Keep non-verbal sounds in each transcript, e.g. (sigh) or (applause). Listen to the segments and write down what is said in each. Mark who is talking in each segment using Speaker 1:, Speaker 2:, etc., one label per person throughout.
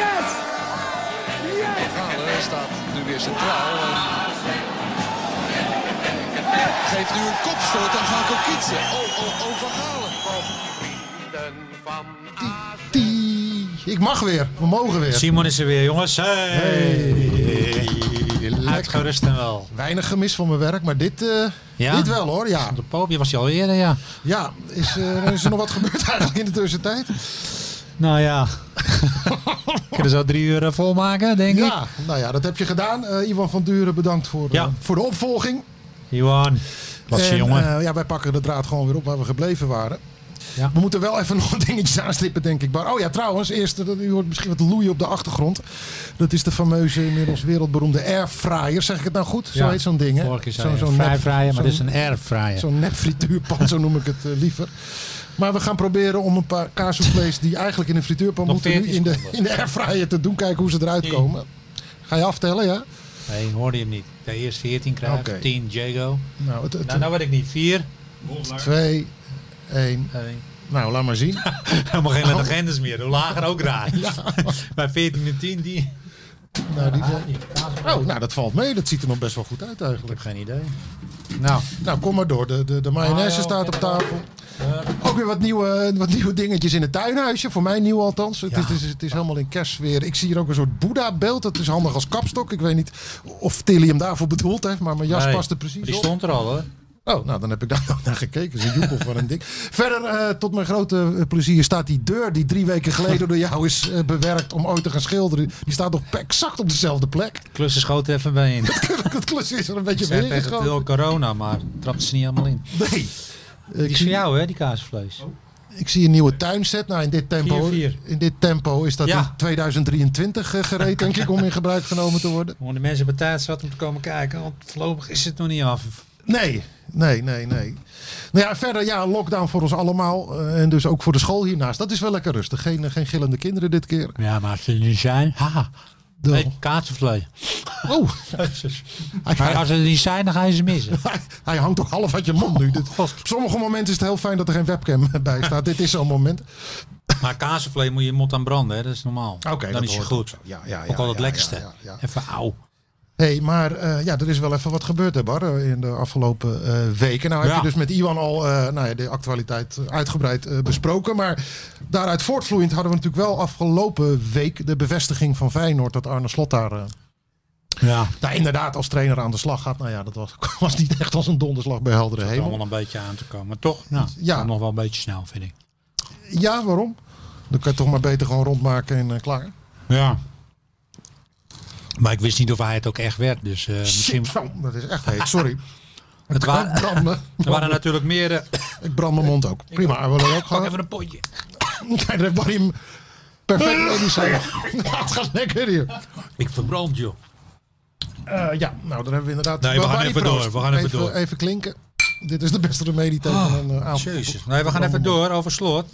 Speaker 1: Yes! Yes!
Speaker 2: Galen staat nu weer centraal. En... Geeft nu een kopstoot aan Gaco Kietsen. Oh, oh, oh, Van Galen.
Speaker 3: Die. Ik mag weer. We mogen weer.
Speaker 4: Simon is er weer, jongens. Hey.
Speaker 3: Lekker.
Speaker 4: Uitgerust en wel.
Speaker 3: Weinig gemis van mijn werk, maar dit, eh,
Speaker 4: Ja?
Speaker 3: dit wel hoor. Ja,
Speaker 4: De poopje was hij al eerder, ja.
Speaker 3: ja. Is, eh, is er nog wat gebeurd (laughs) eigenlijk in de tussentijd?
Speaker 4: Nou ja. (laughs) Kunnen ze al drie uur eh, volmaken, denk ik.
Speaker 3: Ja, nou ja, dat heb je gedaan. Eh, Ivan van Duren, bedankt voor, eh,
Speaker 4: Ja.
Speaker 3: voor de opvolging.
Speaker 4: Johan. Was je
Speaker 3: En,
Speaker 4: jongen.
Speaker 3: eh, ja, wij pakken de draad gewoon weer op waar we gebleven waren.
Speaker 4: Ja.
Speaker 3: We moeten wel even (laughs) nog dingetjes aanstippen, denk ik. Maar, oh ja, trouwens, eerst, eh, dat- u hoort misschien wat loeien op de achtergrond. Dat is de fameuze, inmiddels wereldberoemde airfryer. Zeg ik het nou goed? Zo
Speaker 4: Ja.
Speaker 3: heet zo'n ding, hè?
Speaker 4: Vorige keer zei
Speaker 3: Zo'n-
Speaker 4: je
Speaker 3: zo'n
Speaker 4: een
Speaker 3: nep-
Speaker 4: vrijvrije, maar
Speaker 3: zo'n-
Speaker 4: dit is een airfryer.
Speaker 3: Zo'n nep frituurpan, zo noem ik het eh, liever. Maar we gaan proberen om een paar kaassoufflés die eigenlijk in de frituurpan
Speaker 4: Nog
Speaker 3: moeten, nu
Speaker 4: 14
Speaker 3: in de,
Speaker 4: seconden.
Speaker 3: in de airfryer te doen. Kijken hoe ze eruit
Speaker 4: Tien.
Speaker 3: komen. Ga je aftellen, ja?
Speaker 4: Nee, hoorde je hem niet. De eerst 14 krijgt,
Speaker 3: Oké.
Speaker 4: 10 Jago.
Speaker 3: Nou, het, het,
Speaker 4: Nou, nou weet ik niet. 4.
Speaker 3: twee, één. Nou, laat maar zien.
Speaker 4: (laughs) Helemaal geen legendes meer. Hoe lager ook (laughs) raar. Nou. Bij 14 en 10, die...
Speaker 3: Nou, die zijn- Oh, nou, dat valt mee. Dat ziet er nog best wel goed uit
Speaker 4: Ah, Ik
Speaker 3: eigenlijk.
Speaker 4: heb geen idee. Nou,
Speaker 3: Nou, kom maar door. De, de, de mayonaise
Speaker 4: Ah, ja,
Speaker 3: staat op
Speaker 4: oké.
Speaker 3: tafel. Ook weer wat nieuwe, wat nieuwe dingetjes in het tuinhuisje. Voor mij nieuw althans. Het,
Speaker 4: Ja.
Speaker 3: is, het, is, het is helemaal in kerstsfeer. Ik zie hier ook een soort Boeddha-beeld. Dat is handig als kapstok. Ik weet niet of Tilly hem daarvoor bedoeld heeft. Maar mijn jas
Speaker 4: nee,
Speaker 3: past er precies
Speaker 4: Die
Speaker 3: op.
Speaker 4: stond er al, hoor.
Speaker 3: Oh, nou, dan heb ik daar (laughs) ook naar gekeken. Dat is een joekel van een ding. Verder, eh, tot mijn grote eh, plezier, staat die deur die drie weken geleden door jou is eh, bewerkt om ooit te gaan schilderen. Die staat nog exact op dezelfde plek. (laughs)
Speaker 4: Klussen schoot er even bij (laughs) in.
Speaker 3: Het klusje is er een beetje
Speaker 4: Ze hebben
Speaker 3: weer
Speaker 4: echt
Speaker 3: ingegaan.
Speaker 4: veel corona, maar trapt ze niet allemaal in.
Speaker 3: Nee.
Speaker 4: Die
Speaker 3: Ik
Speaker 4: is van
Speaker 3: zie,
Speaker 4: jou, hè, die kaasvlees.
Speaker 3: ik zie een nieuwe tuinset. Nou, in dit tempo,
Speaker 4: Vier, vier.
Speaker 3: In dit tempo is dat
Speaker 4: Ja.
Speaker 3: in 2023 eh, gereed, denk ik, om in gebruik genomen te worden.
Speaker 4: Gewoon de mensen op tijd zat om te komen kijken, want voorlopig is het nog niet af.
Speaker 3: Nee, nee, nee, nee. Nou ja, verder, ja, lockdown voor ons allemaal. eh, en dus ook voor de school hiernaast. Dat is wel lekker rustig. Geen, eh, geen gillende kinderen dit keer.
Speaker 4: Ja, maar als ze niet zijn, haha.
Speaker 3: De-
Speaker 4: Nee, kaasvlees.
Speaker 3: Oh, hij,
Speaker 4: Maar
Speaker 3: hij,
Speaker 4: als ze er niet zijn, dan ga je ze missen.
Speaker 3: hij hangt toch half uit je mond nu. Dit, op sommige momenten is het heel fijn dat er geen webcam (laughs) bij staat. dit is zo'n moment.
Speaker 4: (laughs) Maar kaasvlees moet je mond aan branden, hè? dat is normaal.
Speaker 3: Oké,
Speaker 4: dan
Speaker 3: dat
Speaker 4: is je
Speaker 3: hoort
Speaker 4: goed.
Speaker 3: ook zo. Ja, ja, ja,
Speaker 4: ook al het
Speaker 3: ja,
Speaker 4: lekkerste.
Speaker 3: ja, ja, ja.
Speaker 4: Even auw.
Speaker 3: Hé, hey, maar eh, ja, er is wel even wat gebeurd, hè, Bar, eh, in de afgelopen eh, weken. Nou heb
Speaker 4: Ja.
Speaker 3: je dus met Iwan al eh, nou ja, de actualiteit eh, uitgebreid eh, besproken. Maar daaruit voortvloeiend hadden we natuurlijk wel afgelopen week de bevestiging van Feyenoord dat Arne Slot daar, eh,
Speaker 4: Ja.
Speaker 3: daar inderdaad als trainer aan de slag gaat. Nou ja, dat was, (laughs) was niet echt als een donderslag bij heldere
Speaker 4: Om
Speaker 3: hemel.
Speaker 4: allemaal een beetje aan te komen. Maar toch, nou,
Speaker 3: Ja.
Speaker 4: nog wel een beetje snel, vind ik.
Speaker 3: Ja, waarom? Dan kan je toch maar beter gewoon rondmaken en eh, klaar.
Speaker 4: Ja. Maar ik wist niet of hij het ook echt werd, dus eh, misschien...
Speaker 3: Shit, zo, dat is echt heet,
Speaker 4: (laughs)
Speaker 3: sorry.
Speaker 4: Het
Speaker 3: (laughs) Ik
Speaker 4: waren,
Speaker 3: brand me-
Speaker 4: er waren natuurlijk meer... eh,
Speaker 3: ik brand mijn mond ook. Prima, we willen ook
Speaker 4: pak
Speaker 3: gewoon...
Speaker 4: even een potje.
Speaker 3: Kijk, daar heeft Barry hem perfect mee die zijn. (laughs) Nou, het gaat lekker hier.
Speaker 4: Ik verbrand, joh.
Speaker 3: Eh, ja, nou, dan hebben we inderdaad...
Speaker 4: Nee, we gaan
Speaker 3: Barry,
Speaker 4: even
Speaker 3: proost.
Speaker 4: door, we gaan even door. Ah,
Speaker 3: Even klinken. Dit is de beste remedie tegen een eh, aanval.
Speaker 4: Jezus. Nee, we gaan even door over slot.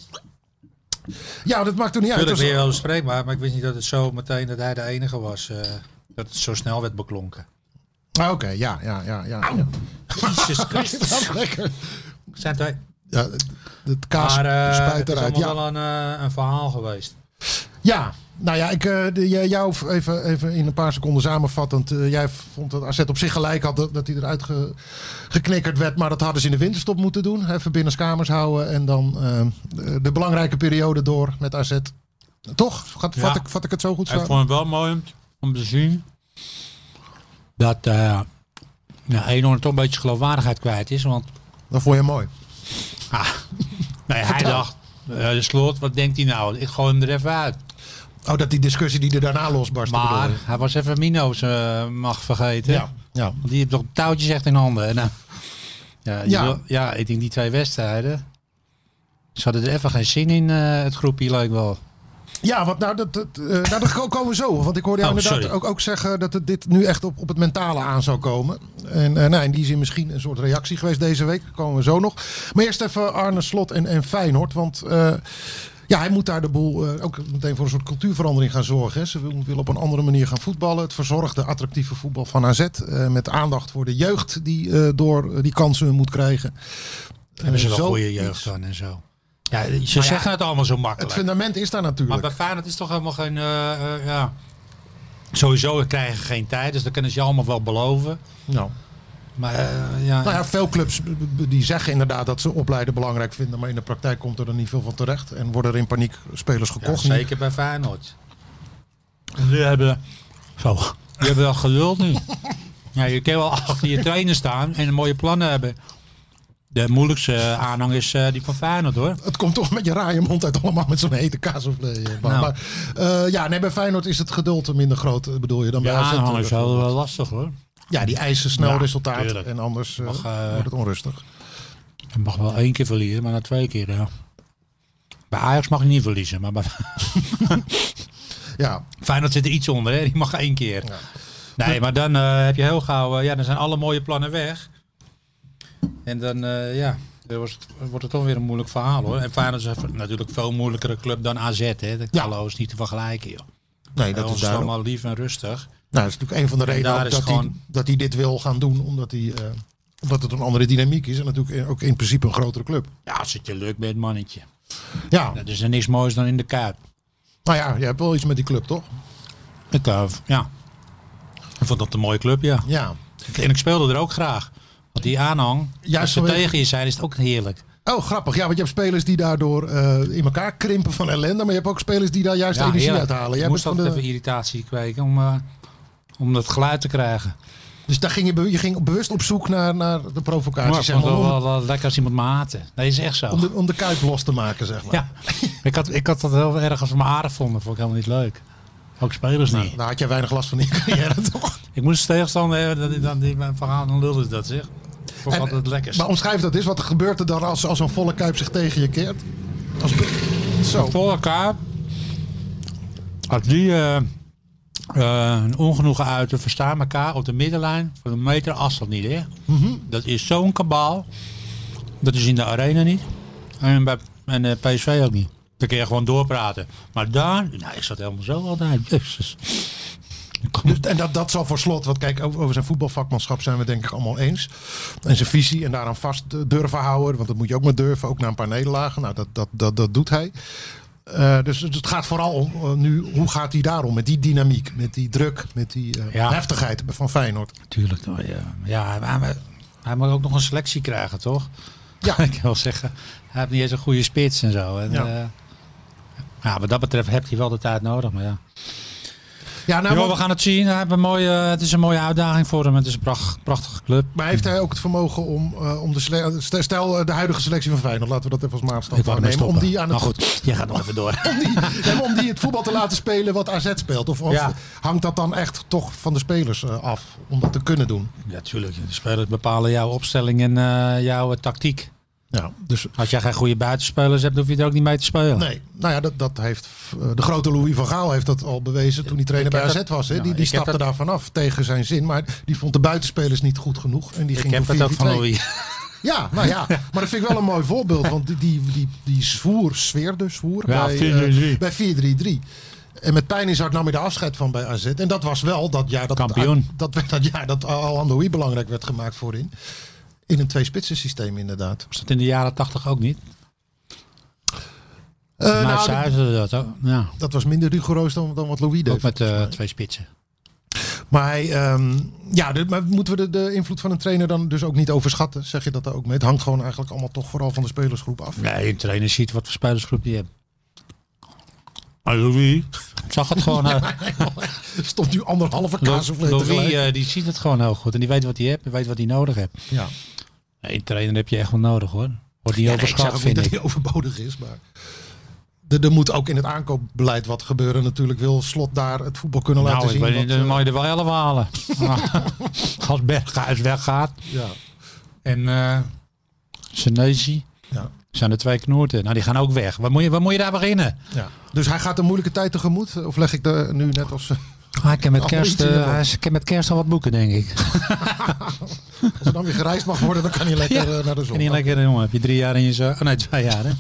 Speaker 3: Ja, dat maakt toen niet uit.
Speaker 4: Tuurlijk ben je
Speaker 3: Dus-
Speaker 4: wel bespreekbaar, maar ik wist niet dat het zo meteen dat hij de enige was. eh, dat het zo snel werd beklonken.
Speaker 3: Ah, Oké, ja, ja, ja. ja, ja.
Speaker 4: (laughs) Jezus (laughs) Christus.
Speaker 3: Ja, lekker.
Speaker 4: Zijn twee.
Speaker 3: Ja, het- het kaas
Speaker 4: Maar eh, het
Speaker 3: spuit
Speaker 4: is
Speaker 3: eruit.
Speaker 4: allemaal
Speaker 3: Ja,
Speaker 4: wel een, eh, een verhaal geweest.
Speaker 3: ja, nou ja, ik, eh, de- jij- jou even, even in een paar seconden samenvattend. Eh, jij vond dat AZ op zich gelijk had dat, dat hij eruit ge- geknikkerd werd. Maar dat hadden ze in de winterstop moeten doen. Even binnenskamers houden en dan eh, de, de belangrijke periode door met AZ. Toch? Gaat, vat,
Speaker 4: Ja.
Speaker 3: ik, vat ik het zo goed
Speaker 4: Ik
Speaker 3: samen?
Speaker 4: vond het wel mooi om- om te zien dat eh nou, Enorm toch een beetje geloofwaardigheid kwijt is. Want
Speaker 3: Dat vond je mooi.
Speaker 4: ah, nee, hij dacht, eh, de slot, wat denkt hij nou? Ik gooi hem er even uit.
Speaker 3: Oh, dat die discussie die er daarna losbarstte.
Speaker 4: Maar
Speaker 3: bedoel je?
Speaker 4: hij was even Mino's eh, mag vergeten.
Speaker 3: Ja, ja.
Speaker 4: Want die heeft toch touwtjes echt in handen. En, eh, ja, je
Speaker 3: Ja.
Speaker 4: wil- ja, ik denk die twee wedstrijden. Ze hadden er even geen zin in, eh, het groepje leek wel.
Speaker 3: Ja, want nou, dat, dat, eh, nou, dat komen we zo. Want ik hoorde jou
Speaker 4: Oh,
Speaker 3: inderdaad
Speaker 4: sorry.
Speaker 3: ook, ook zeggen dat het dit nu echt op, op het mentale aan zou komen. En eh, nou, in die zin misschien een soort reactie geweest deze week. Daar komen we zo nog. Maar eerst even Arne Slot en, en Feyenoord. Want eh, ja, hij moet daar de boel eh, ook meteen voor een soort cultuurverandering gaan zorgen. Hè. Ze wil- willen op een andere manier gaan voetballen. Het verzorgde, attractieve voetbal van AZ. eh, met aandacht voor de jeugd die eh, door eh, die kansen moet krijgen.
Speaker 4: Hebben ze
Speaker 3: Eh,
Speaker 4: wel
Speaker 3: zo
Speaker 4: goede
Speaker 3: iets.
Speaker 4: jeugd dan en zo. Ja, ze zeggen het allemaal zo
Speaker 3: Het
Speaker 4: makkelijk.
Speaker 3: fundament is daar natuurlijk.
Speaker 4: Maar bij Feyenoord is toch helemaal geen... eh, eh, ja. Sowieso we krijgen geen tijd, dus dat kunnen ze je allemaal wel beloven.
Speaker 3: Nou.
Speaker 4: Maar eh, ja,
Speaker 3: Nou ja, veel clubs b- b- die zeggen inderdaad dat ze opleiden belangrijk vinden, maar in de praktijk komt er dan niet veel van terecht en worden er in paniek spelers
Speaker 4: Ja,
Speaker 3: gekocht.
Speaker 4: zeker bij Feyenoord. Die hebben, zo, die hebben wel geduld nu. ja, je kan wel achter je trainer staan en mooie plannen hebben. De moeilijkste eh, aanhang is eh, die van Feyenoord hoor.
Speaker 3: Het komt toch met je raaie mond uit allemaal met zo'n hete kaassoufflé. eh, Maar,
Speaker 4: Nou.
Speaker 3: maar, eh, ja, nee, bij Feyenoord is het geduld er minder groot, eh, bedoel je, dan
Speaker 4: De
Speaker 3: bij AZ.
Speaker 4: aanhang is wel
Speaker 3: bijvoorbeeld.
Speaker 4: wel lastig hoor.
Speaker 3: Ja, die eisen snel
Speaker 4: Ja,
Speaker 3: resultaat
Speaker 4: tuurlijk.
Speaker 3: en anders eh,
Speaker 4: Mag, eh,
Speaker 3: wordt het onrustig.
Speaker 4: Je mag wel één keer verliezen, maar na twee keer ja. Bij Ajax mag je niet verliezen, maar bij
Speaker 3: Ja,
Speaker 4: Feyenoord zit er iets onder, hè? die mag één keer. Nee, maar dan eh, heb je heel gauw, eh, ja, dan zijn alle mooie plannen weg. En dan, eh, ja, dan wordt het, wordt het toch weer een moeilijk verhaal hoor. En Feyenoord is een- natuurlijk een veel moeilijkere club dan AZ, hè. Dat
Speaker 3: Ja.
Speaker 4: kan is niet te vergelijken, joh.
Speaker 3: nee,
Speaker 4: Dat
Speaker 3: dat is
Speaker 4: ons
Speaker 3: duidelijk.
Speaker 4: allemaal lief en rustig.
Speaker 3: Nou, dat is natuurlijk een van de redenen
Speaker 4: daar
Speaker 3: ook
Speaker 4: is
Speaker 3: dat, hij,
Speaker 4: gewoon-
Speaker 3: dat hij dit wil gaan doen, omdat, hij, eh, omdat het een andere dynamiek is en natuurlijk ook in principe een grotere club.
Speaker 4: Ja, als het je lukt bent, mannetje.
Speaker 3: Ja,
Speaker 4: Dat is er niks moois dan in de kaart.
Speaker 3: nou ja, je hebt wel iets met die club, toch?
Speaker 4: Ik, eh, ja. Ik vond dat een mooie club, ja.
Speaker 3: Ja.
Speaker 4: En ik speelde er ook graag. Want die aanhang,
Speaker 3: Juist
Speaker 4: als ze
Speaker 3: vanwege-
Speaker 4: tegen je zijn, is het ook heerlijk.
Speaker 3: Oh, grappig. Ja, want je hebt spelers die daardoor eh, in elkaar krimpen van ellende. Maar je hebt ook spelers die daar juist energie
Speaker 4: heerlijk.
Speaker 3: uithalen.
Speaker 4: Ik
Speaker 3: Jij
Speaker 4: moest
Speaker 3: bent van
Speaker 4: altijd
Speaker 3: de-
Speaker 4: even irritatie kweken om, eh, om dat geluid te krijgen.
Speaker 3: Dus daar ging je, be- je ging bewust op zoek naar, naar de
Speaker 4: Maar
Speaker 3: provocaties.
Speaker 4: ik
Speaker 3: zeg
Speaker 4: vond
Speaker 3: maar,
Speaker 4: het wel,
Speaker 3: om,
Speaker 4: wel, wel lekker als iemand me haatte. Nee, is echt zo.
Speaker 3: om de, om de kuip los te maken, zeg maar.
Speaker 4: Ja, (laughs) ik had, ik had dat heel erg als ze me aardig vonden. Vond ik helemaal niet leuk. Ook spelers
Speaker 3: Nou,
Speaker 4: niet.
Speaker 3: daar had jij weinig last van in je carrière, (laughs) toch?
Speaker 4: Ik moest tegenstander hebben, dat, dat, die mijn verhaal dan lulde ze dat zeg. Vond
Speaker 3: En-
Speaker 4: ik altijd lekker.
Speaker 3: Maar omschrijf dat eens. Wat gebeurt er dan als, als een volle kuip zich tegen je keert? Als, be- zo.
Speaker 4: Voor elkaar. Als die eh, eh, een ongenoegen uiten, verstaan elkaar op de middenlijn van een meter afstand niet. Hè?
Speaker 3: Mhm.
Speaker 4: Dat is zo'n kabaal. Dat is in de arena niet. En bij en, eh, PSV ook niet. Dan kun je gewoon doorpraten. Maar daar, nou, is dat helemaal zo altijd. Jezus.
Speaker 3: Dus- en dat, dat zal voor slot, want kijk, over, over zijn voetbalvakmanschap zijn we denk ik allemaal eens. En zijn visie en daaraan vast eh, durven houden, want dat moet je ook maar durven, ook na een paar nederlagen. Nou, dat, dat, dat, dat doet hij. Eh, dus, dus het gaat vooral om eh, nu, hoe gaat hij daarom? Met die dynamiek, met die druk, met die eh,
Speaker 4: Ja.
Speaker 3: heftigheid van Feyenoord.
Speaker 4: Tuurlijk. nou, ja, ja hij- hij, hij moet ook nog een selectie krijgen, toch? (laughs)
Speaker 3: Ja.
Speaker 4: ik wil zeggen, hij heeft niet eens een goede spits en zo. En,
Speaker 3: Ja.
Speaker 4: ja. ja, wat dat betreft heeft hij wel de tijd nodig. Maar ja.
Speaker 3: Ja, nou,
Speaker 4: Jo,
Speaker 3: want-
Speaker 4: we gaan het zien. Hij heeft een mooie, het is een mooie uitdaging voor hem. Het is een pracht- prachtige club.
Speaker 3: maar heeft hij ook het vermogen om, eh, om de sele- stel- stel eh, de huidige selectie van Feyenoord, laten we dat even als maatstaf
Speaker 4: wou ermee
Speaker 3: nemen, om
Speaker 4: stoppen. Nou,
Speaker 3: die aan het
Speaker 4: Maar goed, jij gaat nog even
Speaker 3: (laughs)
Speaker 4: door.
Speaker 3: om die, ja, maar om die het voetbal te laten spelen wat AZ speelt? Of, of
Speaker 4: Ja.
Speaker 3: hangt dat dan echt toch van de spelers eh, af om dat te kunnen doen?
Speaker 4: Ja, tuurlijk. De spelers bepalen jouw opstelling en eh, jouw eh, tactiek.
Speaker 3: Ja, dus
Speaker 4: Als jij geen goede buitenspelers hebt, hoef je er ook niet mee te spelen.
Speaker 3: nee. Nou ja, dat, dat heeft eh, de grote Louis van Gaal heeft dat al bewezen toen hij trainer bij
Speaker 4: heb
Speaker 3: AZ
Speaker 4: dat-
Speaker 3: was. Hè?
Speaker 4: ja,
Speaker 3: die die
Speaker 4: ik heb
Speaker 3: stapte
Speaker 4: dat-
Speaker 3: daar vanaf tegen zijn zin, maar die vond de buitenspelers niet goed genoeg en die
Speaker 4: Ik
Speaker 3: ging
Speaker 4: heb
Speaker 3: voor
Speaker 4: het ook van
Speaker 3: 4-4-2.
Speaker 4: Louis.
Speaker 3: Ja, nou ja, maar dat vind ik wel een mooi voorbeeld, want die, die, die, die zwoer, sfeer dus, zwoer
Speaker 4: Ja,
Speaker 3: bij,
Speaker 4: 4-3-3.
Speaker 3: eh, bij 4-3-3. En met pijn in zijn hart nam hij de afscheid van bij AZ. En dat was wel dat jaar dat,
Speaker 4: Kampioen.
Speaker 3: dat, werd dat, jaar dat Al-Andoui belangrijk werd gemaakt voorin. In een twee-spitsen systeem inderdaad.
Speaker 4: Was dat in de jaren tachtig ook niet?
Speaker 3: Eh,
Speaker 4: maar
Speaker 3: nou,
Speaker 4: ze
Speaker 3: dat,
Speaker 4: huizen dat ook. Ja,
Speaker 3: dat was minder rigoureus dan, dan wat Louis
Speaker 4: ook
Speaker 3: deed.
Speaker 4: met eh, twee spitsen.
Speaker 3: Maar, hij, ehm, ja, de- maar moeten we de, de invloed van een trainer dan dus ook niet overschatten? Zeg je dat daar ook mee? Het hangt gewoon eigenlijk allemaal toch vooral van de spelersgroep af. (laughs)
Speaker 4: Nee, een trainer ziet wat voor spelersgroep die hebt. Ah, Louis. Zag
Speaker 3: (laughs)
Speaker 4: het gewoon. eh,
Speaker 3: Stond nu anderhalve kaas of
Speaker 4: Louis eh, die ziet het gewoon heel goed. En die weet wat hij hebt en weet wat hij nodig heeft.
Speaker 3: Ja.
Speaker 4: Nee, een trainer heb je echt wel nodig hoor. Wordt niet
Speaker 3: Ja, nee, ik zeg
Speaker 4: overschat,
Speaker 3: ook niet
Speaker 4: vind
Speaker 3: dat
Speaker 4: ik.
Speaker 3: hij overbodig is, maar... Er, er moet ook in het aankoopbeleid wat gebeuren natuurlijk. Wil Slot daar het voetbal kunnen laten
Speaker 4: Nou, ik
Speaker 3: zien?
Speaker 4: weet niet,
Speaker 3: wat,
Speaker 4: dan
Speaker 3: eh,
Speaker 4: mag je er wel 11 (laughs) halen. Als Berghuis weggaat
Speaker 3: ja,
Speaker 4: en eh Senesi.
Speaker 3: ja.
Speaker 4: zijn er twee knoerten. Nou, die gaan ook weg. Waar moet je, waar moet je daar beginnen?
Speaker 3: Ja. Dus hij gaat een moeilijke tijd tegemoet? Of leg ik er nu net als, eh,
Speaker 4: Hij kan Ah, met
Speaker 3: Oh, kerst,
Speaker 4: kerst,
Speaker 3: eh, iets in de hij
Speaker 4: met kerst al wat boeken, denk ik.
Speaker 3: als er dan weer gereisd mag worden, dan kan hij lekker
Speaker 4: (laughs) Ja.
Speaker 3: eh, naar de zon.
Speaker 4: En die lekker, jongen, heb je drie jaar in je zo... Oh, nee, twee jaar, hè?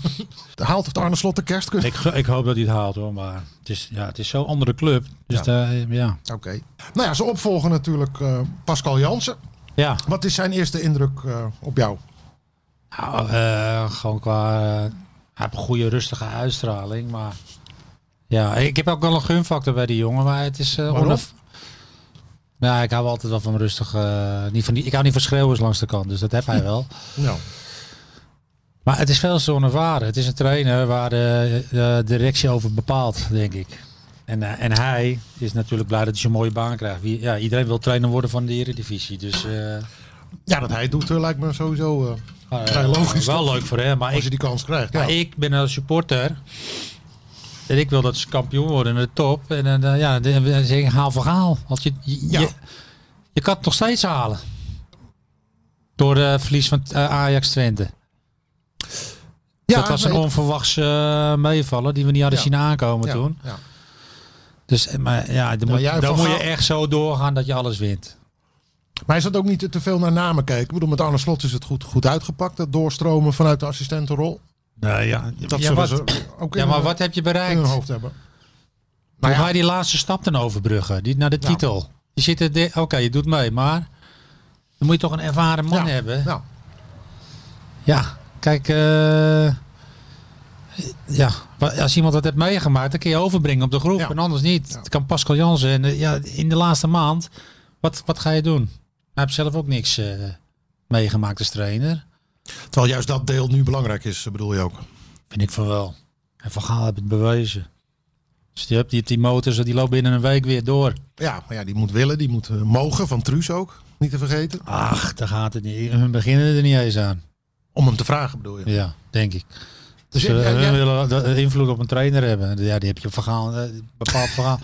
Speaker 3: Haalt het Arne Slot de kerstkust?
Speaker 4: ik, ik hoop dat hij het haalt, hoor. Maar het is, ja, het is zo'n andere club. Dus ja. ja.
Speaker 3: Oké. Nou ja, ze opvolgen natuurlijk eh, Pascal Jansen.
Speaker 4: ja.
Speaker 3: Wat is zijn eerste indruk eh, op jou?
Speaker 4: Nou, eh, gewoon qua... eh, hij heeft een goede, rustige uitstraling, maar... Ja, ik heb ook wel een gunfactor bij die jongen, maar het is... eh
Speaker 3: Waarom?
Speaker 4: onaf- Nou, ik hou altijd wel van rustig... eh, niet van die, ik hou niet van schreeuwers langs de kant, dus dat heb
Speaker 3: (laughs)
Speaker 4: hij wel.
Speaker 3: Nou,
Speaker 4: Maar het is veel te onervaren. Het is een trainer waar de, de directie over bepaalt, denk ik. En, eh, en hij is natuurlijk blij dat hij zo'n mooie baan krijgt. Wie- ja, iedereen wil trainer worden van de Eredivisie. Dus eh,
Speaker 3: ja, dat hij het doet eh, lijkt me sowieso eh,
Speaker 4: maar, eh,
Speaker 3: vrij logisch.
Speaker 4: wel
Speaker 3: toch?
Speaker 4: leuk voor hem. Maar
Speaker 3: Als
Speaker 4: ik,
Speaker 3: je die kans krijgt. Ja.
Speaker 4: maar ik ben een supporter. En ik wil dat ze kampioen worden in de top. En dan, eh, ja, dan zeg ik haal voor haal. Want je, je,
Speaker 3: Ja.
Speaker 4: je, je kan het nog steeds halen. Door de verlies van eh, Ajax Twente.
Speaker 3: Ja,
Speaker 4: dat was een
Speaker 3: nee,
Speaker 4: onverwachts eh, meevallen die we niet hadden
Speaker 3: Ja.
Speaker 4: zien aankomen
Speaker 3: ja,
Speaker 4: toen.
Speaker 3: ja.
Speaker 4: Dus, eh, maar ja, dan, moet,
Speaker 3: jij
Speaker 4: dan
Speaker 3: Van
Speaker 4: moet je
Speaker 3: Gaal-
Speaker 4: echt zo doorgaan dat je alles wint.
Speaker 3: Maar hij zat ook niet te- te veel naar namen kijken. Ik bedoel, met Arne Slot is het goed, goed uitgepakt. Dat doorstromen vanuit de assistentenrol.
Speaker 4: Nee, ja,
Speaker 3: Nou Dat
Speaker 4: ja,
Speaker 3: zullen
Speaker 4: wat,
Speaker 3: ze ook in,
Speaker 4: ja, maar
Speaker 3: hun-
Speaker 4: wat heb je
Speaker 3: in hun
Speaker 4: bereikt? Hoe
Speaker 3: hoofd hebben.
Speaker 4: ga
Speaker 3: Nou ja, Nou.
Speaker 4: je die laatste stap dan overbruggen? Die, naar de
Speaker 3: Ja.
Speaker 4: titel. Je zit er, de- oké, je doet mee, maar dan moet je toch een ervaren man
Speaker 3: Ja.
Speaker 4: hebben.
Speaker 3: nou,
Speaker 4: Ja, kijk, eh, ja, wa- als iemand dat heeft meegemaakt, dan kun je overbrengen op de groep
Speaker 3: Ja.
Speaker 4: en anders niet.
Speaker 3: Ja.
Speaker 4: Het kan Pascal Jansen en eh, ja, in de laatste maand, wat, wat ga je doen? Hij heeft zelf ook niks eh, meegemaakt als trainer.
Speaker 3: terwijl juist dat deel nu belangrijk is, bedoel je ook.
Speaker 4: Vind ik van wel. En Van Gaal heeft het bewezen. Dus die, die, die motors, die loopt binnen een week weer door.
Speaker 3: Ja, maar ja, die moet willen, die moet eh, mogen. Van Truus ook, niet te vergeten.
Speaker 4: Ach, daar gaat het niet. Hun beginnen er niet eens aan.
Speaker 3: Om hem te vragen, bedoel je.
Speaker 4: Ja, denk ik.
Speaker 3: Dus
Speaker 4: Dus
Speaker 3: jij-
Speaker 4: eh,
Speaker 3: jij-
Speaker 4: hun
Speaker 3: jij-
Speaker 4: willen dat- eh, invloed op een trainer hebben. Ja, die heb je verhaal, bepaald
Speaker 3: (laughs)
Speaker 4: verhaal.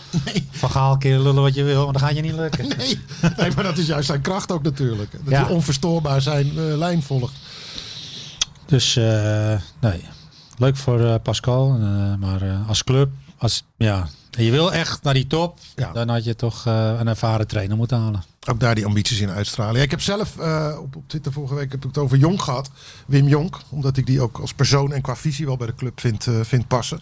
Speaker 4: Verhaal keer lullen wat je wil, maar dan gaat je niet lukken.
Speaker 3: Nee. (laughs) nee, maar dat is juist zijn kracht ook natuurlijk. Dat
Speaker 4: Ja.
Speaker 3: hij onverstoorbaar zijn eh, lijn volgt.
Speaker 4: Dus eh, nee, leuk voor eh, Pascal, eh, maar eh, als club, als ja, en je wil echt naar die top,
Speaker 3: Ja.
Speaker 4: dan had je toch eh, een ervaren trainer moeten halen.
Speaker 3: Ook daar die ambities in uitstralen. Ja, ik heb zelf eh, op, op Twitter vorige week heb ik het over Jonk gehad. Wim Jonk. Omdat ik die ook als persoon en qua visie wel bij de club vind, eh, vind passen.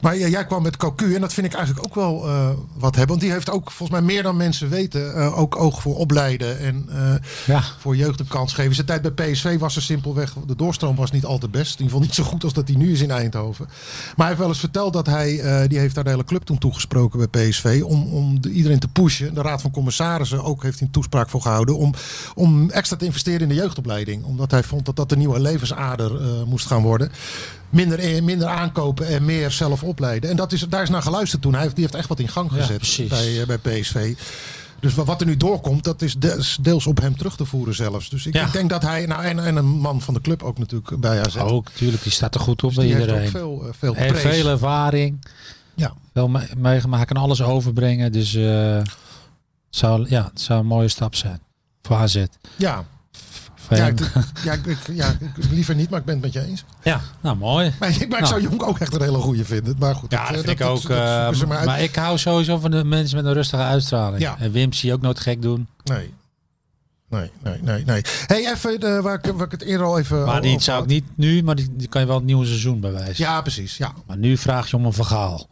Speaker 3: Maar ja, jij kwam met Cocu. En dat vind ik eigenlijk ook wel eh, wat hebben. Want die heeft ook volgens mij meer dan mensen weten. eh, ook oog voor opleiden. En eh,
Speaker 4: Ja.
Speaker 3: voor jeugd een kans geven. Zijn tijd bij PSV was er simpelweg. De doorstroom was niet al te best. In ieder geval niet zo goed als dat hij nu is in Eindhoven. Maar hij heeft wel eens verteld dat hij. eh, die heeft daar de hele club toen toegesproken bij PSV. Om, om de- iedereen te pushen. De Raad van Commissarissen ook heeft hij een toespraak voor gehouden. Om, om extra te investeren in de jeugdopleiding. Omdat hij vond dat dat de nieuwe levensader eh, moest gaan worden. Minder, eh, minder aankopen en meer zelf opleiden. En dat is, daar is naar geluisterd toen. Hij heeft, die heeft echt wat in gang gezet
Speaker 4: precies.
Speaker 3: bij, eh, bij PSV. Dus wa- wat er nu doorkomt, dat is des- deels op hem terug te voeren zelfs. Dus ik,
Speaker 4: Ja.
Speaker 3: ik denk dat hij, nou, en, en een man van de club ook natuurlijk bij AZ.
Speaker 4: Ook, tuurlijk, die staat er goed op Oh, bij
Speaker 3: Dus die heeft ook
Speaker 4: iedereen.
Speaker 3: veel, eh, veel
Speaker 4: En
Speaker 3: prees.
Speaker 4: veel ervaring,
Speaker 3: Ja.
Speaker 4: wel me- meegemaakt, kan alles overbrengen, dus eh zou, ja, het zou een mooie stap zijn voor AZ.
Speaker 3: Ja,
Speaker 4: Voor
Speaker 3: ja,
Speaker 4: hem.
Speaker 3: ik, ja, ik, ik- ja ik, liever niet, maar ik ben het met je eens.
Speaker 4: ja, nou mooi.
Speaker 3: Maar, ik- maar ik
Speaker 4: Nou.
Speaker 3: zou Jonk ook echt een hele goede vinden. Maar goed,
Speaker 4: Ja,
Speaker 3: eh,
Speaker 4: dat vind ik
Speaker 3: dat-
Speaker 4: ook.
Speaker 3: dat
Speaker 4: eh,
Speaker 3: zoeken ze maar
Speaker 4: maar,
Speaker 3: uit.
Speaker 4: ik hou sowieso van de mensen met een rustige uitstraling.
Speaker 3: Ja.
Speaker 4: En Wim zie je ook nooit gek doen.
Speaker 3: Nee. Nee, nee, nee, nee. hey, even eh, waar, ik, waar ik het eerder al even...
Speaker 4: Maar
Speaker 3: al-
Speaker 4: die
Speaker 3: over
Speaker 4: zou ik
Speaker 3: had.
Speaker 4: niet nu, maar die, die kan je wel het nieuwe seizoen bewijzen.
Speaker 3: oh, Ja, precies. Ja,
Speaker 4: Maar nu vraag je om een verhaal.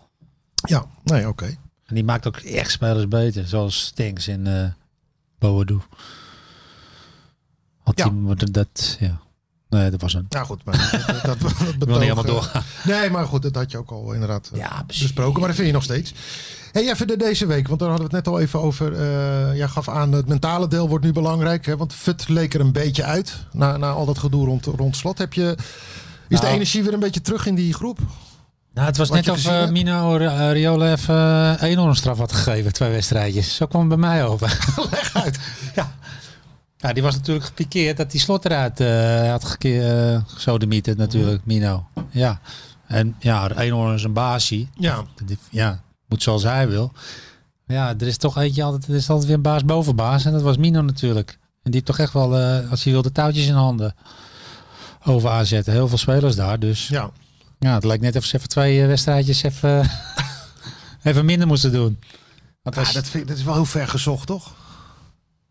Speaker 3: ja. nee, oké.
Speaker 4: En die maakt ook echt spelers beter. Zoals Stinks en eh Boadu. Want
Speaker 3: Ja.
Speaker 4: die moeten dat, ja. Nee, dat was een.
Speaker 3: Nou goed, maar (laughs) dat, dat, dat
Speaker 4: Ik wil
Speaker 3: betoog,
Speaker 4: niet helemaal
Speaker 3: eh,
Speaker 4: doorgaan.
Speaker 3: Nee, maar goed, dat had je ook al inderdaad eh,
Speaker 4: Ja, precies.
Speaker 3: besproken. Maar dat vind je nog steeds. Hey, even de, deze week, want daar hadden we het net al even over. eh, jij gaf aan, het mentale deel wordt nu belangrijk. Hè, want Fut leek er een beetje uit. Na, na al dat gedoe rond, rond slot. Heb je, is de
Speaker 4: Nou.
Speaker 3: energie weer een beetje terug in die groep?
Speaker 4: Nou, het was
Speaker 3: Wat
Speaker 4: net
Speaker 3: je
Speaker 4: of
Speaker 3: gezien
Speaker 4: eh,
Speaker 3: hebt?
Speaker 4: Mino Ri- Riola even eh, een enorme straf had gegeven. Twee wedstrijdjes. Zo kwam het bij mij over. (laughs)
Speaker 3: Leg uit.
Speaker 4: Ja. ja, die was natuurlijk gepikeerd dat die slot eruit eh, had geke- eh, gesodemieterd natuurlijk,
Speaker 3: Mhm.
Speaker 4: Mino. Ja, en ja, Eenhoorn is een baasie.
Speaker 3: Ja,
Speaker 4: Die- Ja, moet zoals hij wil. Ja, er is toch eentje altijd, er is altijd weer een baas boven baas. En dat was Mino natuurlijk. En die heeft toch echt wel, eh, als hij wilde, touwtjes in handen. over AZ. Heel veel spelers daar. Dus
Speaker 3: Ja.
Speaker 4: ja, het lijkt net of ze even twee eh, wedstrijdjes even, (laughs) even minder moesten doen. Want als,
Speaker 3: Ja, dat, vind, ik- dat is wel heel ver gezocht, toch?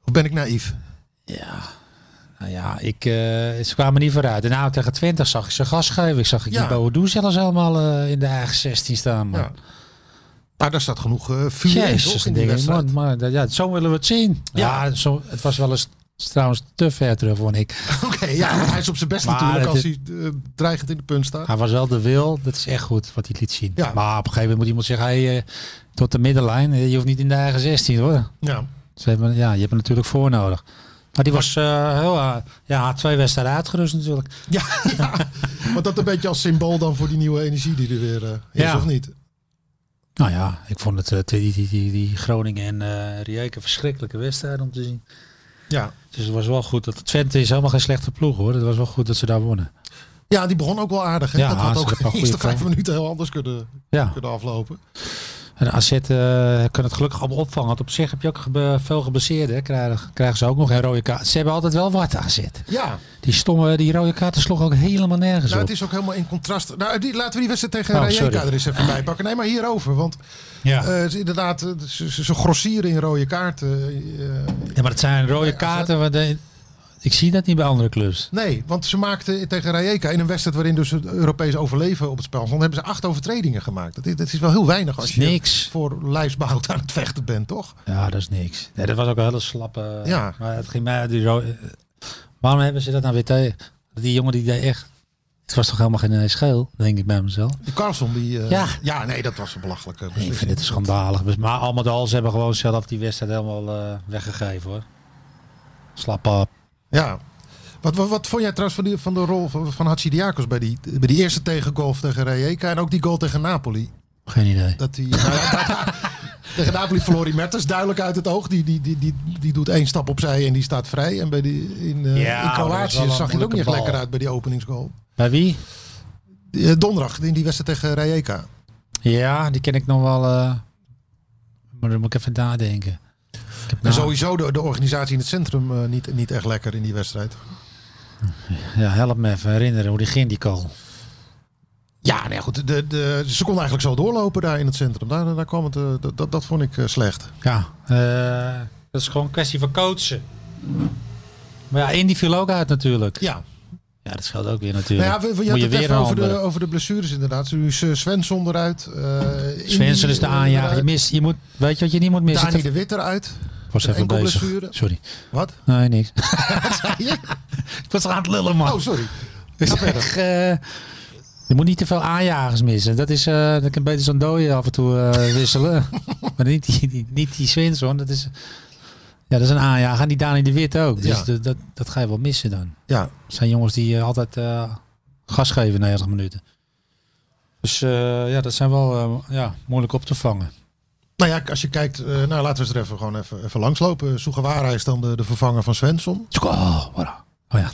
Speaker 3: Of ben ik naïef?
Speaker 4: ja, nou ja ik, eh, ze kwamen niet vooruit. En nou, tegen 20 zag ik ze gas geven. Ik zag ik
Speaker 3: Ja.
Speaker 4: die Boadu zelfs helemaal eh, in de eigen 16 staan. Man.
Speaker 3: Ja. Maar daar staat genoeg eh vuur in, toch?
Speaker 4: Jezus,
Speaker 3: In die
Speaker 4: dan denk ik,
Speaker 3: wedstrijd.
Speaker 4: man, maar, dat- ja, zo willen we het zien. Ja,
Speaker 3: Ja.
Speaker 4: zo, het was wel eens trouwens te ver terug, vond ik.
Speaker 3: (laughs) Oké, ja, want hij is op zijn best
Speaker 4: Maar
Speaker 3: natuurlijk
Speaker 4: het
Speaker 3: als hij eh, dreigend in de punt staat.
Speaker 4: Hij was wel de wil, dat is echt goed wat hij liet zien.
Speaker 3: Ja.
Speaker 4: Maar op een gegeven moment moet iemand zeggen, hey, eh, tot de middenlijn, eh, je hoeft niet in de eigen 16 hoor.
Speaker 3: Ja.
Speaker 4: Ze hebben, ja, je hebt er natuurlijk voor nodig. Maar die was eh, heel, eh, ja, had twee wedstrijden uitgerust natuurlijk.
Speaker 3: Ja, (laughs) ja. want dat een beetje als symbool dan voor die nieuwe energie die er weer eh, is,
Speaker 4: Ja.
Speaker 3: of niet?
Speaker 4: Nou ja, ik vond het eh, die, die, die, die Groningen en eh Rijeka een verschrikkelijke wedstrijd om te zien.
Speaker 3: Ja.
Speaker 4: Dus het was wel goed. Dat Twente is helemaal geen slechte ploeg hoor. Het was wel goed dat ze daar wonnen.
Speaker 3: ja, die begon ook wel aardig. Hè?
Speaker 4: Ja,
Speaker 3: dat had
Speaker 4: ze hebben
Speaker 3: ook
Speaker 4: wel
Speaker 3: de
Speaker 4: goede
Speaker 3: eerste vijf
Speaker 4: kansen.
Speaker 3: minuten heel anders kunnen,
Speaker 4: Ja.
Speaker 3: kunnen aflopen.
Speaker 4: En AZ eh, kan het gelukkig allemaal opvangen. Want op zich heb je ook gebe- veel gebaseerd. Hè. Krijgen, krijgen ze ook nog een rode kaart. Ze hebben altijd wel wat AZ.
Speaker 3: Ja,
Speaker 4: Die stomme, die rode kaarten sloegen ook helemaal nergens
Speaker 3: nou,
Speaker 4: op.
Speaker 3: het is ook helemaal in contrast. Nou, die, laten we die wedstrijd tegen
Speaker 4: Oh,
Speaker 3: Rijeka
Speaker 4: sorry. Ah.
Speaker 3: er eens even bij pakken. Nee, maar hierover. Want
Speaker 4: ja.
Speaker 3: eh, het is inderdaad, eh, ze, ze, ze grossieren in rode kaarten. eh,
Speaker 4: ja, maar het zijn rode kaarten. want, eh, ik zie dat niet bij andere clubs.
Speaker 3: Nee, want ze maakten tegen Rijeka in een wedstrijd waarin dus het Europees overleven op het spel stond, hebben ze acht overtredingen gemaakt. Dat is, dat is wel heel weinig als
Speaker 4: is
Speaker 3: je
Speaker 4: niks.
Speaker 3: voor lijfsbehoud aan het vechten bent, toch?
Speaker 4: Ja, dat is niks. Nee, dat was ook een hele slappe... eh,
Speaker 3: Ja.
Speaker 4: Maar het ging mij... Die rode, waarom hebben ze dat nou weer tegen? Die jongen die deed echt... Het was toch helemaal geen eh, scheel, denk ik bij mezelf.
Speaker 3: Die Carlson, die... eh,
Speaker 4: Ja.
Speaker 3: nee, dat was een belachelijke
Speaker 4: Nee, ik
Speaker 3: beslissing.
Speaker 4: vind dit schandalig. Dus Maar al met al, ze hebben gewoon zelf die wedstrijd helemaal eh, weggegeven hoor. Slap op.
Speaker 3: Ja. Wat, wat, wat vond jij trouwens van, die, van de rol van, van Hatsidiakos bij die, bij die eerste tegengoal tegen Rijeka en ook die goal tegen Napoli?
Speaker 4: Geen idee.
Speaker 3: Dat die, (laughs) nou ja, dat- tegen Napoli verloor hij Mertens duidelijk uit het oog. Die, die, die, die, die doet één stap opzij en die staat vrij. En bij die, in, eh,
Speaker 4: Ja,
Speaker 3: in
Speaker 4: maar dat is wel
Speaker 3: Kroatië
Speaker 4: een
Speaker 3: zag je er ook niet echt
Speaker 4: moeilijke
Speaker 3: lekker
Speaker 4: bal.
Speaker 3: uit bij die openingsgoal.
Speaker 4: Bij wie?
Speaker 3: Eh, Donderdag in die wedstrijd tegen Rijeka.
Speaker 4: Ja, die ken ik nog wel. eh, maar dan moet ik even nadenken. Ik heb
Speaker 3: En
Speaker 4: nou-
Speaker 3: sowieso de, de organisatie in het centrum eh, niet, niet echt lekker in die wedstrijd.
Speaker 4: ja, help me even herinneren hoe die ging die call. nou
Speaker 3: Ja, nee, goed. De, de, ze konden eigenlijk zo doorlopen daar in het centrum. Daar, daar kwam het, eh, dat, dat, dat vond ik eh, slecht.
Speaker 4: Ja, eh, dat is gewoon een kwestie van coachen. Maar ja, Indy viel ook uit natuurlijk.
Speaker 3: Ja,
Speaker 4: Ja, dat geldt ook weer natuurlijk.
Speaker 3: nou ja we, we, je had
Speaker 4: moet je
Speaker 3: het
Speaker 4: weer
Speaker 3: even
Speaker 4: een
Speaker 3: over de,
Speaker 4: andere.
Speaker 3: over de blessures inderdaad. Nu is eh, Svensson eruit. eh,
Speaker 4: Svensson
Speaker 3: Indy,
Speaker 4: is de
Speaker 3: eh,
Speaker 4: aanjager. Je
Speaker 3: eruit.
Speaker 4: mist, je moet, weet je wat je niet moet missen?
Speaker 3: Dani de Wit eruit.
Speaker 4: was even
Speaker 3: enkel
Speaker 4: bezig.
Speaker 3: blessure.
Speaker 4: Sorry.
Speaker 3: Wat?
Speaker 4: Nee, niks.
Speaker 3: (laughs) Wat zei je?
Speaker 4: (laughs) Ik was aan het lullen, man.
Speaker 3: Oh, sorry.
Speaker 4: Dus echt, eh, je moet niet te veel aanjagers missen. Dat is, eh dat kan beter zo'n dode af en toe eh,
Speaker 3: (laughs)
Speaker 4: wisselen. maar niet die, die, niet die Swinson, dat is, ja, dat is een aanjager. En die Dani de Wit ook. Dus
Speaker 3: Ja.
Speaker 4: dat, dat, dat ga je wel missen dan.
Speaker 3: Ja,
Speaker 4: Het zijn jongens die eh, altijd eh, gas geven na 90 minuten. Dus eh, ja, dat zijn wel eh, ja, moeilijk op te vangen.
Speaker 3: nou ja, als je kijkt, eh, nou laten we eens er even, gewoon even, even langslopen. Sugawara is dan de, de vervanger van Svensson.
Speaker 4: Oh, voilà. oh ja,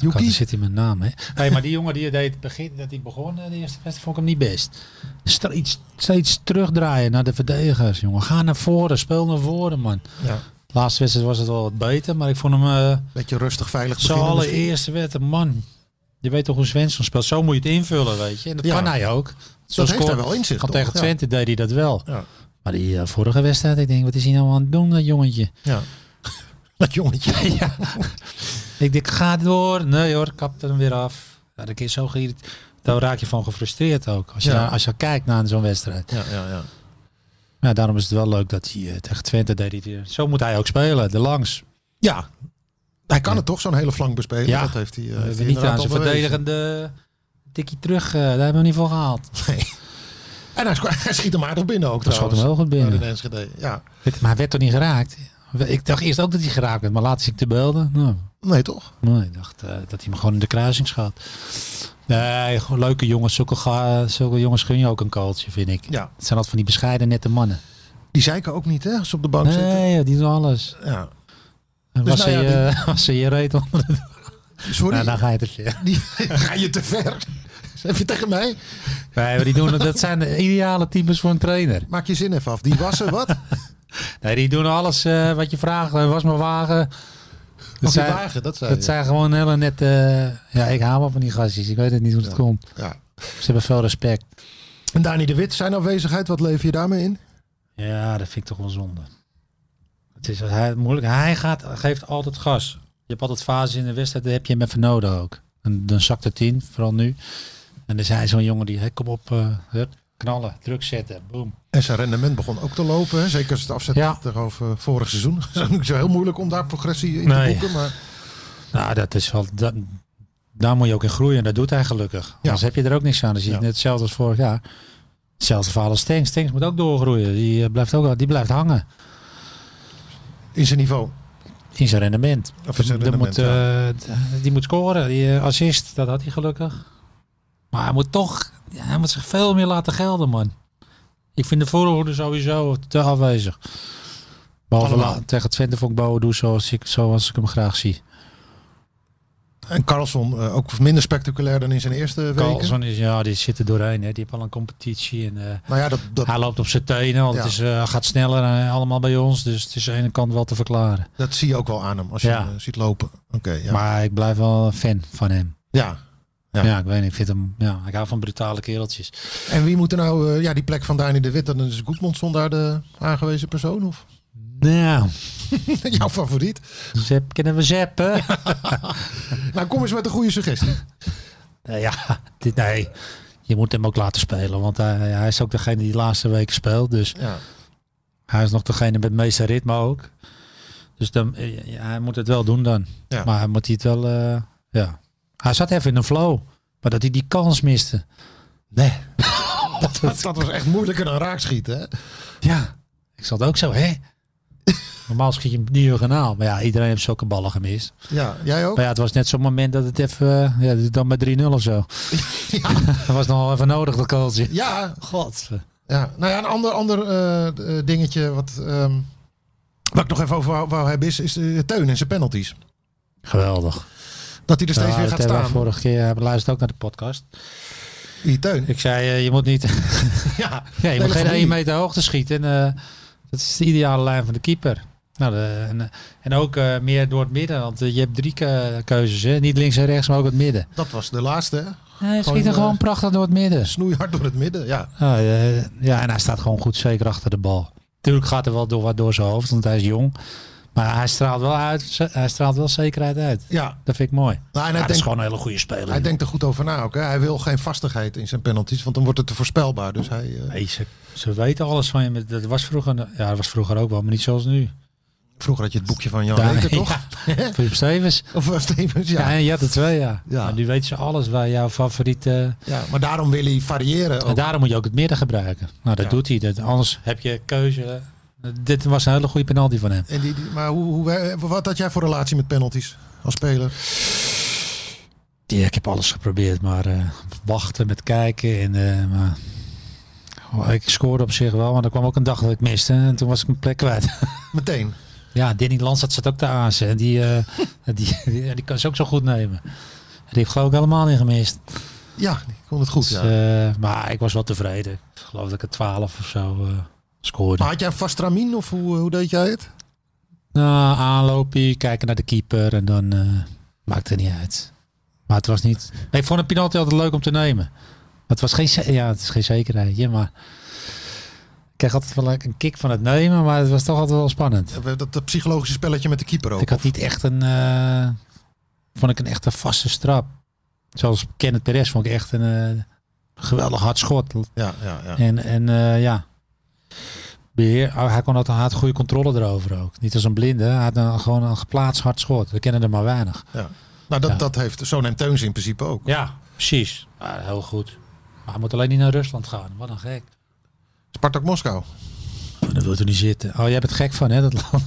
Speaker 4: Kijk,
Speaker 3: Yuki.
Speaker 4: er zit in mijn naam, hè? Hey, maar die jongen die deed het begin, dat hij begon, eh, de eerste wedstrijd, vond ik hem niet best. Stra- iets, steeds terugdraaien naar de verdedigers, jongen. Ga naar voren, speel naar voren, man.
Speaker 3: Ja,
Speaker 4: Laatste wedstrijd was het wel wat beter, maar ik vond hem eh
Speaker 3: beetje rustig, veilig
Speaker 4: zijn
Speaker 3: beginnen. misschien.
Speaker 4: allereerste wedstrijd, man. Je weet toch hoe Svensson speelt, zo moet je het invullen, weet je. En dat
Speaker 3: Ja.
Speaker 4: kan hij ook. Zo
Speaker 3: Dat heeft
Speaker 4: scoort-
Speaker 3: hij wel in zich,
Speaker 4: Want
Speaker 3: toch?
Speaker 4: tegen
Speaker 3: Ja.
Speaker 4: Twente deed hij dat wel.
Speaker 3: Ja.
Speaker 4: Maar die eh, vorige wedstrijd, ik denk, wat is hij nou aan het doen, dat jongetje?
Speaker 3: Ja. (laughs) Dat jongetje.
Speaker 4: ja. Ik denk, ga door. Nee hoor, kap hem weer af. Ja, dat is zo geïrriteerd. Daar raak je van gefrustreerd ook. Als je,
Speaker 3: Ja.
Speaker 4: naar- als je kijkt naar zo'n wedstrijd.
Speaker 3: Ja, ja, ja.
Speaker 4: Ja, daarom is het wel leuk dat hij eh, tegen Twente deed. hij het weer. Zo moet hij ook spelen, de langs.
Speaker 3: Ja. Hij kan het toch, zo'n hele flank bespelen.
Speaker 4: Ja.
Speaker 3: Dat heeft hij, eh,
Speaker 4: We
Speaker 3: heeft
Speaker 4: hebben
Speaker 3: hij
Speaker 4: niet aan
Speaker 3: inderdaad
Speaker 4: zijn
Speaker 3: al bewezen.
Speaker 4: verdedigende tikkie terug. eh, daar hebben we niet voor gehaald.
Speaker 3: Nee. En hij, sco- (laughs) hij schiet hem aardig binnen ook
Speaker 4: Dat schoot
Speaker 3: trouwens.
Speaker 4: hem heel goed binnen.
Speaker 3: Ja, in Enschede, ja.
Speaker 4: Maar hij werd toch niet geraakt? Ik dacht eerst ook dat hij geraakt werd, maar later zie ik de beelden. Nou,
Speaker 3: Nee, toch?
Speaker 4: Nee, ik dacht eh, dat hij hem gewoon in de kruising schaat. Nee, gewoon leuke jongens. Zulke, ga- zulke jongens gun je ook een kooltje, vind ik.
Speaker 3: Ja. Oh,
Speaker 4: Het zijn altijd van die bescheiden nette mannen.
Speaker 3: Die zeiken ook niet, hè, als ze op de bank zitten.
Speaker 4: Nee, joh, die doen alles.
Speaker 3: Ja.
Speaker 4: En
Speaker 3: Dus
Speaker 4: was,
Speaker 3: nou
Speaker 4: ze,
Speaker 3: ja,
Speaker 4: je- was ze je reet onder de...
Speaker 3: Sorry,
Speaker 4: Nou, dan ga je het weer.
Speaker 3: (laughs) die, ga je te ver. (laughs) Heb je tegen mij?
Speaker 4: Nee, maar die doen, dat zijn de ideale types voor een trainer.
Speaker 3: Maak je zin even af.
Speaker 4: (laughs)
Speaker 3: Die wassen, wat?
Speaker 4: Nee, die doen alles eh, wat je vraagt. Eh, Was mijn wagen.
Speaker 3: die
Speaker 4: zijn-
Speaker 3: wagen, dat zei
Speaker 4: Dat
Speaker 3: je.
Speaker 4: zijn gewoon hele net. ja, ik haal wel van die gastjes. Ik weet het niet hoe dat komt.
Speaker 3: Ja.
Speaker 4: Ze hebben veel respect.
Speaker 3: En Dani de Wit, zijn afwezigheid, wat lever je daarmee in?
Speaker 4: Ja, dat vind ik toch wel zonde. Het is wat hij, moeilijk. Hij gaat, geeft altijd gas. Je hebt altijd fases in de wedstrijd, daar heb je hem even nodig ook. En dan zakt het in, vooral nu. En dan is hij zo'n jongen die, hè, kom op, eh, hup, knallen, druk zetten, boom.
Speaker 3: En zijn rendement begon ook te lopen. Hè? Zeker als het afzet
Speaker 4: Ja.
Speaker 3: tegenover vorig seizoen. (laughs) Het is ook niet zo heel moeilijk om daar progressie in
Speaker 4: Nee.
Speaker 3: te boeken. Maar
Speaker 4: Nou, dat is wel, dat, daar moet je ook in groeien. En dat doet hij gelukkig. Anders heb je er ook niks aan. Dan zie je
Speaker 3: Ja.
Speaker 4: het net hetzelfde als vorig jaar. Hetzelfde verhaal als Stengs. Stengs moet ook doorgroeien. Die eh, blijft, ook, die blijft hangen
Speaker 3: in zijn niveau.
Speaker 4: in zijn rendement.
Speaker 3: Of in zijn
Speaker 4: Dat
Speaker 3: rendement,
Speaker 4: moet,
Speaker 3: ja.
Speaker 4: eh, d- Die moet scoren. Die eh, assist, dat had hij gelukkig. Maar hij moet toch, ja, hij moet zich veel meer laten gelden, man. Ik vind de voorhoede sowieso te afwezig. Behalve
Speaker 3: Allemaal.
Speaker 4: la- tegen Twente vond ik Boadu zoals ik, zoals ik hem graag zie.
Speaker 3: En Carlson eh, ook minder spectaculair dan in zijn eerste weken.
Speaker 4: Carlson is, ja, die zit er doorheen. Hè. Die heeft al een competitie. En, eh,
Speaker 3: Nou ja, dat, dat,
Speaker 4: hij loopt op zijn tenen. al. Het
Speaker 3: Ja.
Speaker 4: is, eh, gaat sneller eh, allemaal bij ons. Dus het is aan de ene kant wel te verklaren.
Speaker 3: dat zie je ook wel aan hem als je
Speaker 4: Ja.
Speaker 3: hem eh, ziet lopen. Oké, ja.
Speaker 4: Maar ik blijf wel fan van hem.
Speaker 3: ja. Ja.
Speaker 4: Ja, ik weet niet. Ik vind hem, ja, ik hou van brutale kereltjes.
Speaker 3: En wie moet er nou... eh, ja, die plek van Dani de Wit, dan is Goedmondson daar de aangewezen persoon? Of (laughs)
Speaker 4: Nou,
Speaker 3: jouw favoriet?
Speaker 4: Zep, kunnen we zeppen? Ja,
Speaker 3: Nou, kom eens met een goede suggestie.
Speaker 4: Eh, ja dit, nee. Je moet hem ook laten spelen, want hij, hij is ook degene die de laatste weken speelt. Dus
Speaker 3: Ja.
Speaker 4: hij is nog degene met het meeste ritme ook. Dus dan, eh, ja, hij moet het wel doen dan.
Speaker 3: Ja.
Speaker 4: Maar hij moet hij het wel, eh, ja. Hij zat even in een flow, maar dat hij die kans miste. Nee.
Speaker 3: Dat, dat was echt moeilijker dan raakschieten, hè?
Speaker 4: Ja, ik zat ook zo, (laughs) hè? Normaal schiet je hem diagonaal, maar ja, iedereen heeft zulke ballen gemist.
Speaker 3: Ja, jij ook?
Speaker 4: Maar ja, het was net zo'n moment dat het even, eh, ja, dan met 3-0 of (laughs) zo. dat was nog wel even nodig, dat kooltje.
Speaker 3: Ja,
Speaker 4: God.
Speaker 3: Ja, nou ja, een ander, ander eh, eh, dingetje wat, ehm, wat ik nog even over wou, wou hebben is, is eh, Teun en zijn penalties.
Speaker 4: Geweldig.
Speaker 3: Dat hij er steeds
Speaker 4: Ja,
Speaker 3: weer
Speaker 4: dat
Speaker 3: gaat
Speaker 4: hebben we
Speaker 3: staan.
Speaker 4: Vorige keer hebben luisterd ook naar de podcast.
Speaker 3: Die Teun.
Speaker 4: Ik zei, eh, je moet (laughs) niet,
Speaker 3: Ja,
Speaker 4: ja, je
Speaker 3: Nee,
Speaker 4: moet
Speaker 3: dat
Speaker 4: geen
Speaker 3: van
Speaker 4: 1
Speaker 3: die.
Speaker 4: meter hoogte schieten. En, eh, dat is de ideale lijn van de keeper. Nou, de- en, eh, en ook eh, meer door het midden, want eh, je hebt drie ke- keuzes. Hè? Niet links en rechts, maar ook het midden.
Speaker 3: dat was de laatste. hè? Gewoon,
Speaker 4: Hij schiet er
Speaker 3: eh,
Speaker 4: gewoon prachtig door het midden.
Speaker 3: Snoeihard door het midden, ja.
Speaker 4: Ah, eh, ja, en hij staat gewoon goed zeker achter de bal. Tuurlijk gaat er wel door, wat door zijn hoofd, want hij is jong. Maar hij straalt wel, uit, ze- hij straalt wel zekerheid uit.
Speaker 3: Ja,
Speaker 4: Dat vind ik mooi.
Speaker 3: nou, en
Speaker 4: hij
Speaker 3: hij,
Speaker 4: is
Speaker 3: denkt,
Speaker 4: gewoon een hele goede speler.
Speaker 3: hij denkt er goed over na ook. Hè? Hij wil geen vastigheid in zijn penalties, want dan wordt het te voorspelbaar. Dus hij, eh,
Speaker 4: Nee, ze, ze weten alles van je. maar Dat was vroeger, ja, dat was vroeger ook wel, maar niet zoals nu.
Speaker 3: vroeger had je het boekje van Jan
Speaker 4: Daar-
Speaker 3: Reker, toch?
Speaker 4: (laughs)
Speaker 3: (laughs)
Speaker 4: Ja, Philip Stevens.
Speaker 3: Of eh, Stevens,
Speaker 4: Ja,
Speaker 3: ja.
Speaker 4: en je had er twee, ja.
Speaker 3: Ja.
Speaker 4: Maar nu weten ze alles waar jouw favoriete...
Speaker 3: ja. Maar daarom wil hij variëren
Speaker 4: En
Speaker 3: ook.
Speaker 4: daarom moet je ook het midden gebruiken. Nou, dat
Speaker 3: Ja.
Speaker 4: doet hij. Dat, anders heb je keuze. Eh, Dit was een hele goede penalty van hem.
Speaker 3: En die, die- maar hoe, hoe, eh, wat had jij voor relatie met penalties als speler?
Speaker 4: Ja, ik heb alles geprobeerd, maar eh, wachten met kijken. En, eh, maar, Oh, ik scoorde op zich wel, maar er kwam ook een dag dat ik miste. En toen was ik mijn plek kwijt. (laughs)
Speaker 3: Meteen.
Speaker 4: ja, Danny Lansat zat ook te aasen. En die, eh, (laughs) die, die, die kan ze ook zo goed nemen. En die heeft geloof ik helemaal niet gemist.
Speaker 3: Ja, ik kon het goed.
Speaker 4: Dus,
Speaker 3: Ja.
Speaker 4: eh, maar ik was wel tevreden. Ik geloof dat ik het 12 of zo eh, scoorde.
Speaker 3: Maar had jij een vast ramien of hoe, hoe deed jij het?
Speaker 4: Nou, aanlopen, kijken naar de keeper en dan eh, maakt het niet uit. Maar het was niet. Nee, ik vond een penalty altijd leuk om te nemen. Maar het was geen, ze- ja, het is geen zekerheidje, maar ik kreeg altijd wel een kick van het nemen, maar het was toch altijd wel spannend.
Speaker 3: Eh, Dat, dat psychologische spelletje met de keeper ook.
Speaker 4: Ik had niet echt een, eh, vond ik een echte vaste strap. Zoals Kenneth Perez vond ik echt een eh, geweldig hard schot.
Speaker 3: Ja, ja, ja.
Speaker 4: En, en eh, ja, beheer, oh, hij, kon altijd, hij had goede controle erover ook. Niet als een blinde, hij had een, gewoon een geplaatst hard schot. We kennen er maar weinig.
Speaker 3: Nou, dat,
Speaker 4: Ja.
Speaker 3: dat heeft, zo neemt Teuns in principe ook.
Speaker 4: Ja, precies. Ja, heel goed. Maar hij moet alleen niet naar Rusland gaan. Wat een gek.
Speaker 3: Spartak Moskou. (laughs)
Speaker 4: Dat wil er niet zitten. Oh, jij bent gek van, hè, dat land.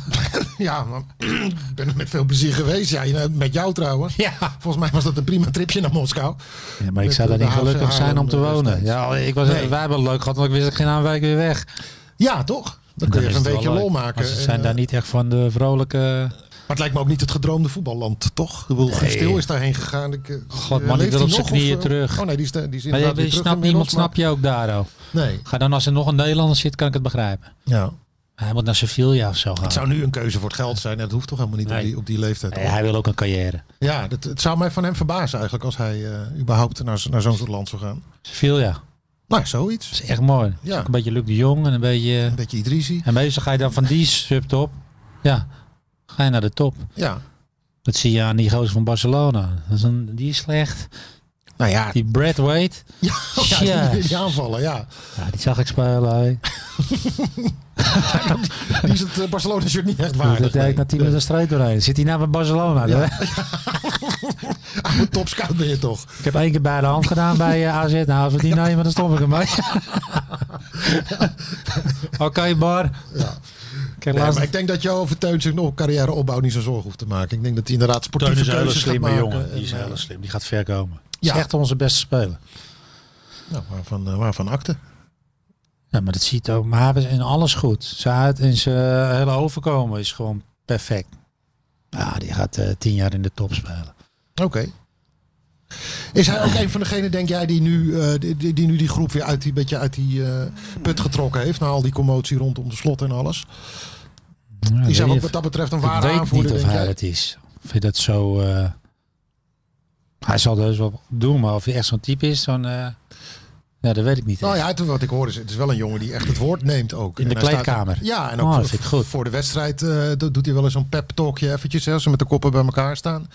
Speaker 3: Ja, maar ik ben er met veel plezier geweest. Ja, met jou trouwen.
Speaker 4: Ja.
Speaker 3: Volgens mij was dat een prima tripje naar Moskou.
Speaker 4: maar ik
Speaker 3: Met
Speaker 4: zou daar
Speaker 3: de
Speaker 4: niet
Speaker 3: Haagse
Speaker 4: gelukkig zijn om te
Speaker 3: Haarlem
Speaker 4: wonen.
Speaker 3: destijds.
Speaker 4: Ja, oh, ik was,
Speaker 3: Nee.
Speaker 4: Wij hebben het leuk gehad, want ik wist dat ik geen aanwijk weer weg.
Speaker 3: Ja, toch? Dan kun je even een beetje lol maken.
Speaker 4: Maar ze
Speaker 3: En,
Speaker 4: zijn daar
Speaker 3: eh,
Speaker 4: niet echt van de vrolijke...
Speaker 3: Maar het lijkt me ook niet het gedroomde voetballand, toch? Ik bedoel,
Speaker 4: Nee.
Speaker 3: Stil is daarheen gegaan. Ik, eh,
Speaker 4: God,
Speaker 3: eh,
Speaker 4: man, die
Speaker 3: leeft hij
Speaker 4: wil op zijn
Speaker 3: nog, of,
Speaker 4: knieën
Speaker 3: eh,
Speaker 4: terug.
Speaker 3: Oh nee, die is, die is
Speaker 4: Maar
Speaker 3: inderdaad
Speaker 4: je,
Speaker 3: weer
Speaker 4: je
Speaker 3: terug
Speaker 4: snapt,
Speaker 3: inmiddels,
Speaker 4: niemand snap je ook daar, oh.
Speaker 3: maar- Nee,
Speaker 4: Ga dan als er nog een Nederlander zit, kan ik het begrijpen.
Speaker 3: ja.
Speaker 4: Hij moet naar Sevilla of zo gaan.
Speaker 3: Het zou nu een keuze voor het geld zijn. En dat hoeft toch helemaal niet op,
Speaker 4: Nee.
Speaker 3: die, op die leeftijd.
Speaker 4: Nee, hij wil ook een carrière.
Speaker 3: Ja, dat, het zou mij van hem verbazen eigenlijk als hij eh, überhaupt naar, z- naar zo'n soort land zou gaan.
Speaker 4: Sevilla.
Speaker 3: Nou, ja, zoiets.
Speaker 4: Dat is echt mooi. Dat is
Speaker 3: Ja.
Speaker 4: ook Een beetje Luc de Jong en een beetje...
Speaker 3: Een beetje Idrisi.
Speaker 4: En meestal ga je dan van die subtop, ja, ga je naar de top.
Speaker 3: Ja.
Speaker 4: Dat zie je aan die gozer van Barcelona. Dat is een, die is slecht.
Speaker 3: Nou ja,
Speaker 4: Die Brad Wade,
Speaker 3: ja, (laughs) ja, die,
Speaker 4: Yes.
Speaker 3: die aanvallen, ja.
Speaker 4: ja, die zag ik spelen. hè.
Speaker 3: Die is het eh, Barcelona-shirt niet echt
Speaker 4: Dat
Speaker 3: waard.
Speaker 4: deed ik na 10 minuten strijd doorheen. Zit hij nou bij Barcelona?
Speaker 3: Topscout ben je toch?
Speaker 4: (laughs) Ik heb één keer bij de hand gedaan bij eh, AZ. Nou, als we die nemen, dan stop ik hem
Speaker 3: (laughs)
Speaker 4: mee. Oké, Bar.
Speaker 3: Ja.
Speaker 4: Ik heb
Speaker 3: Nee,
Speaker 4: laatst-
Speaker 3: maar ik denk dat jou over Teun zich nog op carrièreopbouw niet zo zorgen hoeft te maken. Ik denk dat hij inderdaad
Speaker 4: Teun
Speaker 3: sportieve
Speaker 4: is een hele
Speaker 3: keuzes gaat
Speaker 4: slimme
Speaker 3: maken.
Speaker 4: jongen. Die is
Speaker 3: En,
Speaker 4: heel
Speaker 3: eh,
Speaker 4: erg slim. Die gaat ver komen.
Speaker 3: Ja.
Speaker 4: Is echt onze beste speler.
Speaker 3: nou, waarvan, eh, waarvan akte?
Speaker 4: Ja, maar dat ziet ook. Maar hij is in alles goed. Zijn uit en zijn hele overkomen is gewoon perfect. Ja, die gaat eh, tien jaar in de top spelen.
Speaker 3: Oké. Is hij ook een van degenen, denk jij, die nu, eh, die, die, die nu die groep weer uit die, beetje uit die eh, put getrokken heeft? Na al die commotie rondom de slot en alles. Die zijn
Speaker 4: ik
Speaker 3: wat,
Speaker 4: weet-
Speaker 3: dat betreft een
Speaker 4: ik
Speaker 3: ware
Speaker 4: weet niet
Speaker 3: aanvoerder,
Speaker 4: of
Speaker 3: denk
Speaker 4: hij
Speaker 3: jij?
Speaker 4: het is. Of hij dat zo... eh, hij zal dus wel doen, maar of hij echt zo'n type is, dan... eh, ja, dat weet ik niet.
Speaker 3: Nou
Speaker 4: echt.
Speaker 3: ja, toen wat ik hoor is, het is wel een jongen die echt het woord neemt ook.
Speaker 4: In de
Speaker 3: En hij staat-
Speaker 4: kleedkamer.
Speaker 3: ja, en
Speaker 4: Oh,
Speaker 3: ook
Speaker 4: dat
Speaker 3: v-
Speaker 4: vind ik goed.
Speaker 3: voor de wedstrijd eh, do- doet hij wel eens zo'n pep talkje eventjes. Hè, als ze met de koppen bij elkaar staan.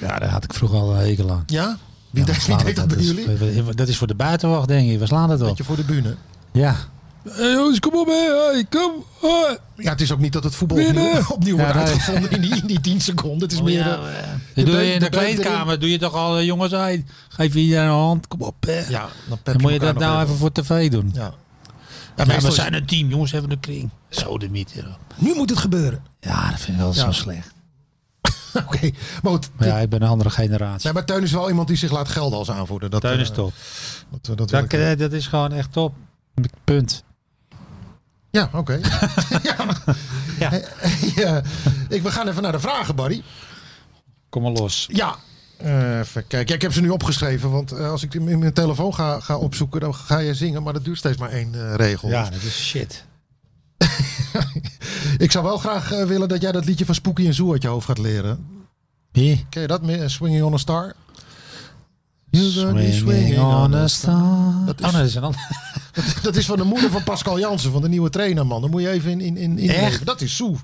Speaker 4: Ja, daar had ik vroeger al een hekel aan.
Speaker 3: Ja? Wie, deed, wie
Speaker 4: Slaat
Speaker 3: deed dat
Speaker 4: het-
Speaker 3: bij jullie?
Speaker 4: is- dat is voor de buitenwacht, denk ik. We slaan dat wel.
Speaker 3: Beetje voor de bühne.
Speaker 4: Ja.
Speaker 3: Ja, het is ook niet dat het voetbal opnieuw, (laughs) opnieuw wordt
Speaker 4: Ja, nee.
Speaker 3: uitgevonden in die, in die 10 seconden. Het is meer... eh,
Speaker 4: Dat doe je
Speaker 3: beuk-
Speaker 4: in
Speaker 3: de beuk
Speaker 4: de kleedkamer. Doe je toch al, eh, jongens, hey, geef je een hand. Kom op, hè.
Speaker 3: ja, dan, pep
Speaker 4: Dan moet je
Speaker 3: elkaar
Speaker 4: dat
Speaker 3: nog
Speaker 4: nou even voor tv doen.
Speaker 3: Ja.
Speaker 4: Ja,
Speaker 3: meestal
Speaker 4: we
Speaker 3: is-
Speaker 4: zijn een team, jongens, hebben een kring. Zo de mythe. joh.
Speaker 3: Nu moet het gebeuren. (laughs)
Speaker 4: Ja, dat vind ik wel
Speaker 3: Ja.
Speaker 4: zo slecht.
Speaker 3: Oké, maar goed.
Speaker 4: Maar ja, ik ben een andere generatie.
Speaker 3: Nee, maar Teun is wel iemand die zich laat gelden als aanvoerder. Dat,
Speaker 4: Teun
Speaker 3: eh,
Speaker 4: is top.
Speaker 3: Dat, dat, dat wil
Speaker 4: Dat,
Speaker 3: ik-
Speaker 4: eh, dat is gewoon echt top. Punt.
Speaker 3: Ja, oké. (laughs) ja.
Speaker 4: Ja.
Speaker 3: Hey, eh, ik, we gaan even naar de vragen, Barry.
Speaker 4: Kom maar los.
Speaker 3: Ja. Eh, Even kijken. Ja, ik heb ze nu opgeschreven, want eh, als ik in in mijn telefoon ga, ga opzoeken, dan ga je zingen, maar dat duurt steeds maar één eh, regel.
Speaker 4: Ja,
Speaker 3: Dus
Speaker 4: dat is shit.
Speaker 3: ik zou wel graag eh, willen dat jij dat liedje van Spooky en Zoo uit je hoofd gaat leren.
Speaker 4: Wie?
Speaker 3: Ken je dat? meer? Eh, Swinging on a Star?
Speaker 4: Swinging on a star.
Speaker 3: Dat is-
Speaker 4: Oh, nee, dat is een ander.
Speaker 3: (laughs) Dat is van de moeder van Pascal Jansen, van de nieuwe trainer, man. Dan moet je even in. in, in, in
Speaker 4: Echt?
Speaker 3: Dat is Soe.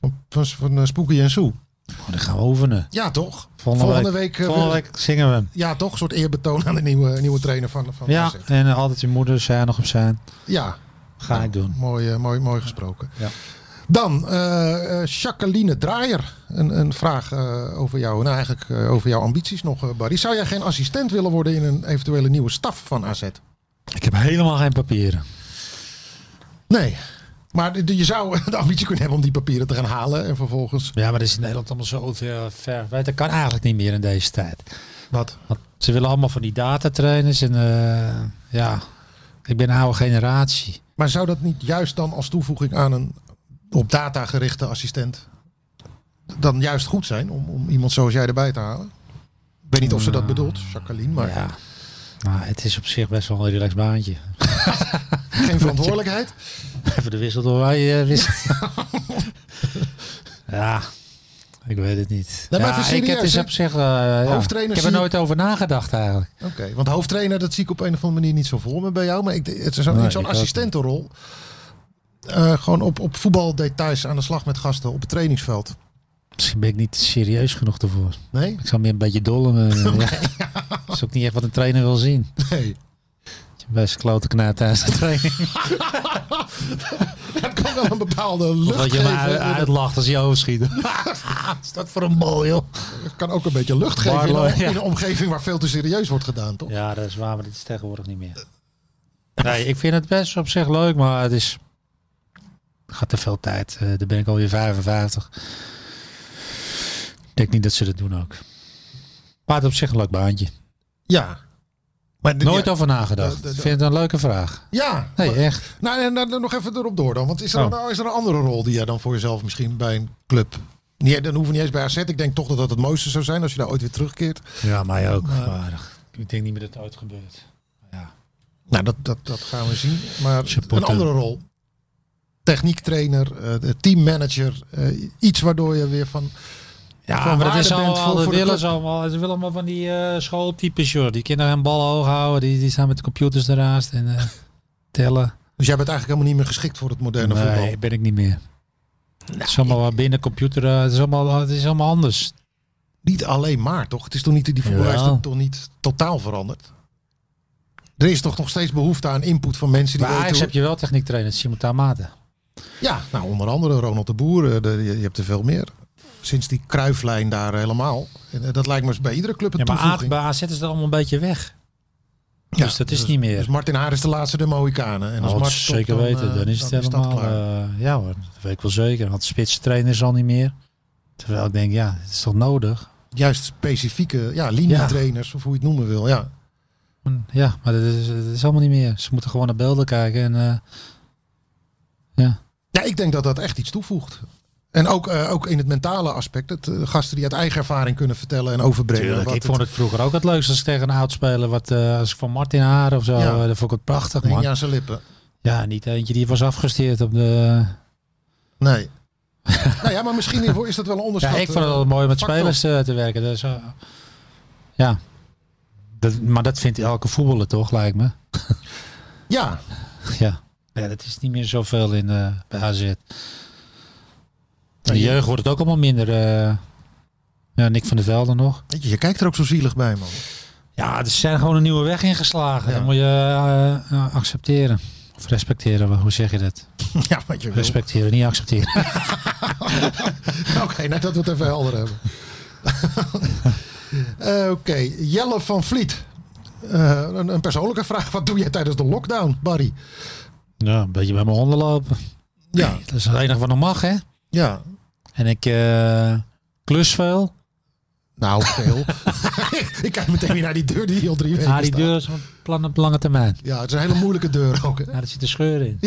Speaker 3: Van, van, van eh, Spooky en Soe.
Speaker 4: Oh, dan gaan we oefenen.
Speaker 3: Ja, toch?
Speaker 4: Volgende,
Speaker 3: week.
Speaker 4: week,
Speaker 3: eh,
Speaker 4: volgende week zingen we hem.
Speaker 3: Ja, toch? Een soort eerbetoon aan de nieuwe, nieuwe trainer van, van
Speaker 4: Ja,
Speaker 3: AZ.
Speaker 4: en eh, altijd je moeder zei nog op zijn.
Speaker 3: ja.
Speaker 4: Ga ik doen.
Speaker 3: Mooi, eh, mooi, mooi gesproken.
Speaker 4: Ja.
Speaker 3: Dan eh, eh, Jacqueline Draaier. Een, een vraag eh, over jou. Nou, eigenlijk eh, over jouw ambities nog, eh, Barry. Zou jij geen assistent willen worden in een eventuele nieuwe staf van AZ?
Speaker 4: Ik heb helemaal geen papieren.
Speaker 3: Nee. Maar de- de- je zou (laughs) de ambitie kunnen hebben om die papieren te gaan halen. En vervolgens.
Speaker 4: Ja, maar dat is in Nederland allemaal zo ver, ver weg. Dat kan eigenlijk niet meer in deze tijd.
Speaker 3: Wat?
Speaker 4: Want ze willen allemaal van die datatrainers. En eh, ja, ik ben een oude generatie.
Speaker 3: Maar zou dat niet juist dan als toevoeging aan een op data gerichte assistent dan juist goed zijn om, om iemand zoals jij erbij te halen? Ik weet niet of ze dat bedoelt, Jacqueline, maar
Speaker 4: Nou. Ja. Maar het is op zich best wel een relaxed baantje. (laughs)
Speaker 3: geen verantwoordelijkheid.
Speaker 4: Even de wissel door wij eh
Speaker 3: (laughs)
Speaker 4: wisselen. ja, ik weet het niet.
Speaker 3: Nee, maar
Speaker 4: ja,
Speaker 3: even
Speaker 4: ik heb
Speaker 3: serieus,
Speaker 4: dus
Speaker 3: hè?
Speaker 4: op zich. eh, ja.
Speaker 3: Hoofdtrainer
Speaker 4: Ik heb
Speaker 3: zie
Speaker 4: er
Speaker 3: je-
Speaker 4: nooit over nagedacht eigenlijk.
Speaker 3: Oké, want hoofdtrainer, dat zie ik op een of andere manier niet zo voor me bij jou. Maar ik, het is zo,
Speaker 4: Nee,
Speaker 3: in zo'n
Speaker 4: ik ook niet.
Speaker 3: assistentenrol. eh, gewoon op, op voetbaldetails aan de slag met gasten op het trainingsveld.
Speaker 4: Misschien ben ik niet serieus genoeg ervoor.
Speaker 3: Nee? (laughs)
Speaker 4: Ik zou meer een beetje dollen. (laughs) eh, ja. Dat is ook niet echt wat een trainer wil zien.
Speaker 3: Nee.
Speaker 4: Dat je Best klote knaar tijdens de training.
Speaker 3: Dat kan wel een bepaalde
Speaker 4: Of
Speaker 3: lucht
Speaker 4: dat je hem uit-
Speaker 3: geven.
Speaker 4: uitlacht als je overschiet. is dat voor een bal, joh.
Speaker 3: Het kan ook een beetje lucht geven in
Speaker 4: Barlo,
Speaker 3: een-
Speaker 4: ja.
Speaker 3: in een omgeving waar veel te serieus wordt gedaan, toch?
Speaker 4: Ja, dat is waar, maar dat is tegenwoordig niet meer. Nee, ik vind het best op zich leuk, maar het is... Gaat te veel tijd. Eh dan ben ik alweer 55. Ik denk niet dat ze dat doen ook. Maar het is op zich een leuk baantje.
Speaker 3: Ja. Maar de-
Speaker 4: Nooit
Speaker 3: ja.
Speaker 4: over nagedacht.
Speaker 3: Eh, de- de-
Speaker 4: Ik vind het een leuke vraag.
Speaker 3: Ja.
Speaker 4: Nee,
Speaker 3: Maar-
Speaker 4: echt.
Speaker 3: nou, en, dan nog even erop door dan. Want is er,
Speaker 4: Oh.
Speaker 3: nou, is er een andere rol die jij dan voor jezelf misschien bij een club... Nee, dan hoeven we niet eens bij AZ. Ik denk toch dat dat het mooiste zou zijn als je daar ooit weer terugkeert.
Speaker 4: Ja, mij ook. ik denk niet meer dat het ooit gebeurt.
Speaker 3: Nou, dat, dat, dat gaan we zien. Maar
Speaker 4: Supporter.
Speaker 3: een andere rol. techniektrainer, eh, teammanager. eh, iets waardoor je weer van...
Speaker 4: Ja,
Speaker 3: Van
Speaker 4: maar dat
Speaker 3: waarde
Speaker 4: is
Speaker 3: bent
Speaker 4: allemaal,
Speaker 3: voor-
Speaker 4: dat
Speaker 3: voor de
Speaker 4: willen
Speaker 3: club.
Speaker 4: ze allemaal. Ze willen allemaal van die eh, schooltypes, joh. Die kinderen hun ballen hoog houden. Die, die staan met de computers ernaast en eh, (laughs) tellen.
Speaker 3: Dus jij bent eigenlijk helemaal niet meer geschikt voor het moderne voetbal.
Speaker 4: Nee, ben ik niet meer. het is allemaal wel binnen computer. eh, het, is allemaal, het is allemaal anders.
Speaker 3: Niet alleen maar, toch? Het is toch niet, die voetbal is
Speaker 4: Jawel.
Speaker 3: toch- toch niet totaal veranderd? Er is toch nog steeds behoefte aan input van mensen die
Speaker 4: Maar Ajax
Speaker 3: weten...
Speaker 4: heb
Speaker 3: hoe-
Speaker 4: je wel techniek trainer, Simon Tamate.
Speaker 3: Ja, nou onder andere Ronald de Boer. eh, de- je, je hebt er veel meer. Sinds die kruiflijn daar helemaal. En, eh, dat lijkt me eens bij iedere club een
Speaker 4: Ja, maar A-
Speaker 3: toevoeging.
Speaker 4: bij AZ is het allemaal een beetje weg.
Speaker 3: Ja,
Speaker 4: dus dat is niet meer.
Speaker 3: Dus Martin Haar is de laatste de Mohikanen. En als
Speaker 4: Nou, dat
Speaker 3: Mart
Speaker 4: is
Speaker 3: stopt,
Speaker 4: zeker
Speaker 3: dan,
Speaker 4: weten,
Speaker 3: eh,
Speaker 4: dan is het
Speaker 3: dat
Speaker 4: helemaal...
Speaker 3: klaar.
Speaker 4: eh, ja hoor, dat weet ik wel zeker. Want spitstrainer is al niet meer. Terwijl ik denk, ja, het is toch nodig?
Speaker 3: Juist specifieke ja, linietrainers, of hoe je het noemen wil. Ja.
Speaker 4: Ja, maar dat is, dat is allemaal niet meer. Ze moeten gewoon naar beelden kijken. En, eh, ja.
Speaker 3: ja, ik denk dat dat echt iets toevoegt. En ook, eh, ook in het mentale aspect. Dat eh, gasten die uit eigen ervaring kunnen vertellen en overbrengen.
Speaker 4: Tuurlijk,
Speaker 3: wat
Speaker 4: ik vond het vroeger ook het leukste als ik tegen een oud speler, wat eh, als ik van Martin Haren of zo,
Speaker 3: Ja.
Speaker 4: eh, dat vond ik het prachtig
Speaker 3: hing
Speaker 4: man.
Speaker 3: je
Speaker 4: Ja.
Speaker 3: aan zijn lippen.
Speaker 4: niet eentje die was afgesteerd op de...
Speaker 3: Nee.
Speaker 4: (laughs)
Speaker 3: nou ja, maar misschien is dat wel een eh, onderscheid.
Speaker 4: Ja, ik vond het altijd mooi om met
Speaker 3: factor.
Speaker 4: spelers eh, te werken. Dus, eh, ja. Dat, maar dat vindt elke voetballer toch, lijkt me. (laughs)
Speaker 3: Ja,
Speaker 4: Ja. ja dat is niet meer zoveel in, eh bij AZ. In
Speaker 3: Ja,
Speaker 4: de
Speaker 3: je-
Speaker 4: jeugd wordt het ook allemaal minder. eh. ja, Nick van der Velde nog.
Speaker 3: weet je, je kijkt er ook zo zielig bij, man.
Speaker 4: Ja, ze zijn gewoon een nieuwe weg ingeslagen.
Speaker 3: Ja.
Speaker 4: Dat moet je eh, eh, accepteren. Of respecteren, wa- hoe zeg je dat?
Speaker 3: (laughs) ja, wat je wil.
Speaker 4: Respecteren, niet
Speaker 3: (laughs)
Speaker 4: accepteren.
Speaker 3: Oké, nou dat we het even helder hebben. (laughs) Eh, Oké, Jelle van Vliet. Eh, een, een persoonlijke vraag. Wat doe jij tijdens de lockdown, Barry?
Speaker 4: nou, een beetje bij mijn honden lopen.
Speaker 3: Ja,
Speaker 4: Dat is het enige wat nog mag, hè?
Speaker 3: ja.
Speaker 4: En ik eh, klus veel.
Speaker 3: Nou,
Speaker 4: (laughs)
Speaker 3: veel. (laughs) ik kijk meteen weer naar die deur die hier al drie weken
Speaker 4: Ah, die
Speaker 3: staat.
Speaker 4: deur is een plan op lange termijn.
Speaker 3: Ja, het is een hele moeilijke deur ook. Hè?
Speaker 4: Ja, daar zit een scheur in.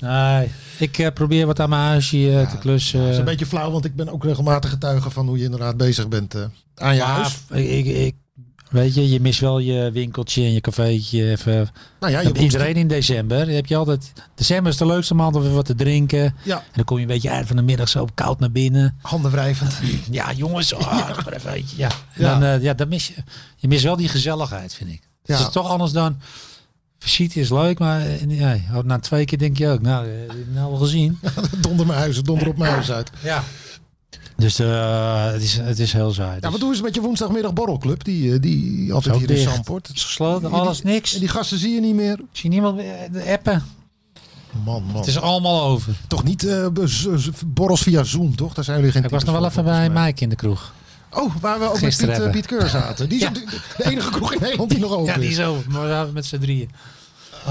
Speaker 4: Nee, ik eh, probeer wat aan mijn huisje eh, te klussen.
Speaker 3: Het is een beetje flauw, want ik ben ook regelmatig getuige van hoe je inderdaad bezig bent eh, aan je
Speaker 4: Maar
Speaker 3: huis.
Speaker 4: ik, ik, ik- weet je, je mist wel je winkeltje en je cafeetje. Even.
Speaker 3: Nou ja, je
Speaker 4: Dat
Speaker 3: woensdag-
Speaker 4: iedereen in december. Je hebt je altijd, december is de leukste maand om even wat te drinken. En
Speaker 3: Ja,
Speaker 4: dan kom je een beetje eind van de middag zo koud naar binnen.
Speaker 3: handen wrijvend.
Speaker 4: (laughs) Ja, jongens. Oh, ik word even, ja. En
Speaker 3: Ja.
Speaker 4: Dan, eh, ja, dan mis je. Je mist wel die gezelligheid, vind ik. Dus
Speaker 3: Ja.
Speaker 4: Het is toch anders dan. Visite is leuk, maar eh, ja, na twee keer denk je ook, nou, eh, heb je het nou al gezien.
Speaker 3: (laughs) donder mijn huis, donder op
Speaker 4: (laughs)
Speaker 3: mijn huis uit.
Speaker 4: Ja. (laughs) Dus eh, het, is, het is heel saai.
Speaker 3: Ja,
Speaker 4: Dus
Speaker 3: wat doen ze met je woensdagmiddag borrelclub? Die, eh, die altijd
Speaker 4: Ook
Speaker 3: hier in
Speaker 4: dicht.
Speaker 3: Zandvoort.
Speaker 4: het is gesloten, alles niks.
Speaker 3: En die gasten zie je niet meer.
Speaker 4: Ik zie niemand meer eh, appen.
Speaker 3: Man, man.
Speaker 4: Het is allemaal over.
Speaker 3: Toch niet eh, be- z- z- borrels via Zoom, toch? Daar zijn jullie geen
Speaker 4: Ik was nog
Speaker 3: types
Speaker 4: wel
Speaker 3: voor,
Speaker 4: even bij
Speaker 3: volgens mij.
Speaker 4: Mike in de kroeg.
Speaker 3: Oh, waar we ook met Piet,
Speaker 4: Gisteren
Speaker 3: eh,
Speaker 4: hebben.
Speaker 3: Piet Keur zaten.
Speaker 4: (laughs)
Speaker 3: Die is ook de, de enige kroeg in Nederland die nog open
Speaker 4: Ja, die oh,
Speaker 3: is.
Speaker 4: zo. Maar we waren met z'n drieën.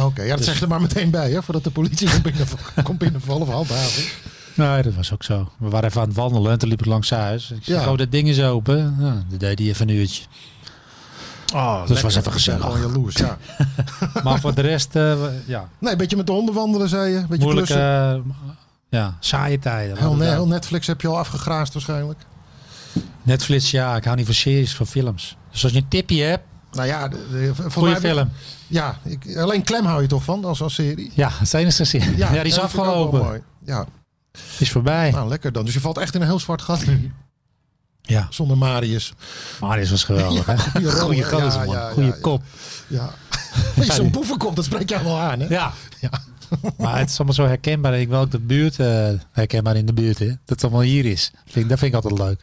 Speaker 3: Oké, ja, dat zeg je er maar meteen bij, hè, voordat de politie komt binnenvallen, (laughs) komt binnenvallen of handhaving.
Speaker 4: Nee, dat was ook zo. We waren even aan het wandelen en toen liep ik langs zijn huis. Ik zeg,
Speaker 3: Ja.
Speaker 4: oh, dat ding is open. Nou, dat deed hij even een uurtje.
Speaker 3: Oh,
Speaker 4: lekker. was even gezellig.
Speaker 3: Gewoon jaloers, ja.
Speaker 4: Maar voor de rest, eh, we- ja,
Speaker 3: Nee, een beetje met de honden wandelen, zei je. Een beetje
Speaker 4: moeilijke,
Speaker 3: klussen.
Speaker 4: eh, ja, saaie tijden. eh,
Speaker 3: Heel, ne-
Speaker 4: Net
Speaker 3: heel Netflix heb je al afgegraast waarschijnlijk.
Speaker 4: Netflix, ja, ik hou niet van series, van films. Dus als je een tipje hebt,
Speaker 3: Nou ja, de, de- volgens
Speaker 4: goede
Speaker 3: mij-
Speaker 4: film.
Speaker 3: Ja, ik, alleen Klem hou je toch van als, als serie?
Speaker 4: Ja, het enige serie. (laughs) Ja, die is
Speaker 3: dat vind ik ook wel
Speaker 4: afgelopen.
Speaker 3: mooi. Ja,
Speaker 4: Is voorbij.
Speaker 3: nou lekker dan. Dus je valt echt in een heel zwart gat nu,
Speaker 4: Ja.
Speaker 3: zonder Marius.
Speaker 4: Marius was
Speaker 3: (laughs)
Speaker 4: geweldig, hè?
Speaker 3: goeie rol,
Speaker 4: Goeie
Speaker 3: hè?
Speaker 4: gozer,
Speaker 3: Ja,
Speaker 4: man.
Speaker 3: ja,
Speaker 4: goeie
Speaker 3: ja, ja.
Speaker 4: kop.
Speaker 3: Ja. (laughs) Als je zo'n boevenkop, dat spreekt jou wel aan, hè?
Speaker 4: Ja.
Speaker 3: (laughs)
Speaker 4: maar het is allemaal zo herkenbaar. Ik wil ook de buurt eh, herkenbaar in de buurt, hè? Dat het allemaal hier is. Vind, ik- dat vind ik altijd leuk.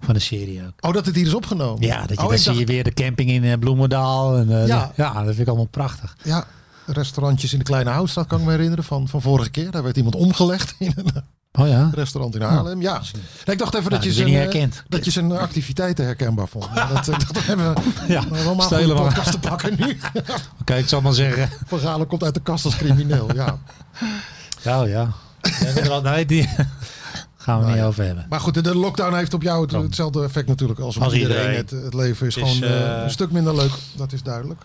Speaker 4: Van de serie ook.
Speaker 3: Oh, dat het hier is opgenomen?
Speaker 4: Ja, dat je,
Speaker 3: oh,
Speaker 4: dan
Speaker 3: ik
Speaker 4: zie je weer de camping in eh, Bloemendaal. En, eh,
Speaker 3: Ja.
Speaker 4: ja. dat vind ik allemaal prachtig.
Speaker 3: dacht- ja, restaurantjes in de Kleine Houtstraat kan ik me herinneren van, van vorige keer. Daar werd iemand omgelegd (laughs) in een
Speaker 4: Oh ja.
Speaker 3: restaurant in Haarlem. Ja, Nee, ik dacht even dat, je
Speaker 4: Nou, dat je
Speaker 3: zijn,
Speaker 4: niet
Speaker 3: eh,
Speaker 4: herkent.
Speaker 3: dat je zijn activiteiten herkenbaar
Speaker 4: (laughs)
Speaker 3: vond. Maar dat, eh, dat hebben we
Speaker 4: Ja,
Speaker 3: we hebben allemaal een
Speaker 4: stelen
Speaker 3: goede
Speaker 4: maar.
Speaker 3: podcast te pakken
Speaker 4: (laughs)
Speaker 3: nu.
Speaker 4: Oké, ik zal maar zeggen.
Speaker 3: Van Galen komt uit de kast als crimineel, ja.
Speaker 4: Nou ja. We hebben er al- nee, die gaan we
Speaker 3: Nou
Speaker 4: niet
Speaker 3: ja.
Speaker 4: over hebben.
Speaker 3: Maar goed, de- de lockdown heeft op jou het, hetzelfde effect natuurlijk als op
Speaker 4: Oh. Als
Speaker 3: iedereen.
Speaker 4: iedereen.
Speaker 3: Het, het leven is
Speaker 4: Het is,
Speaker 3: gewoon eh,
Speaker 4: eh,
Speaker 3: een stuk minder leuk, dat is duidelijk.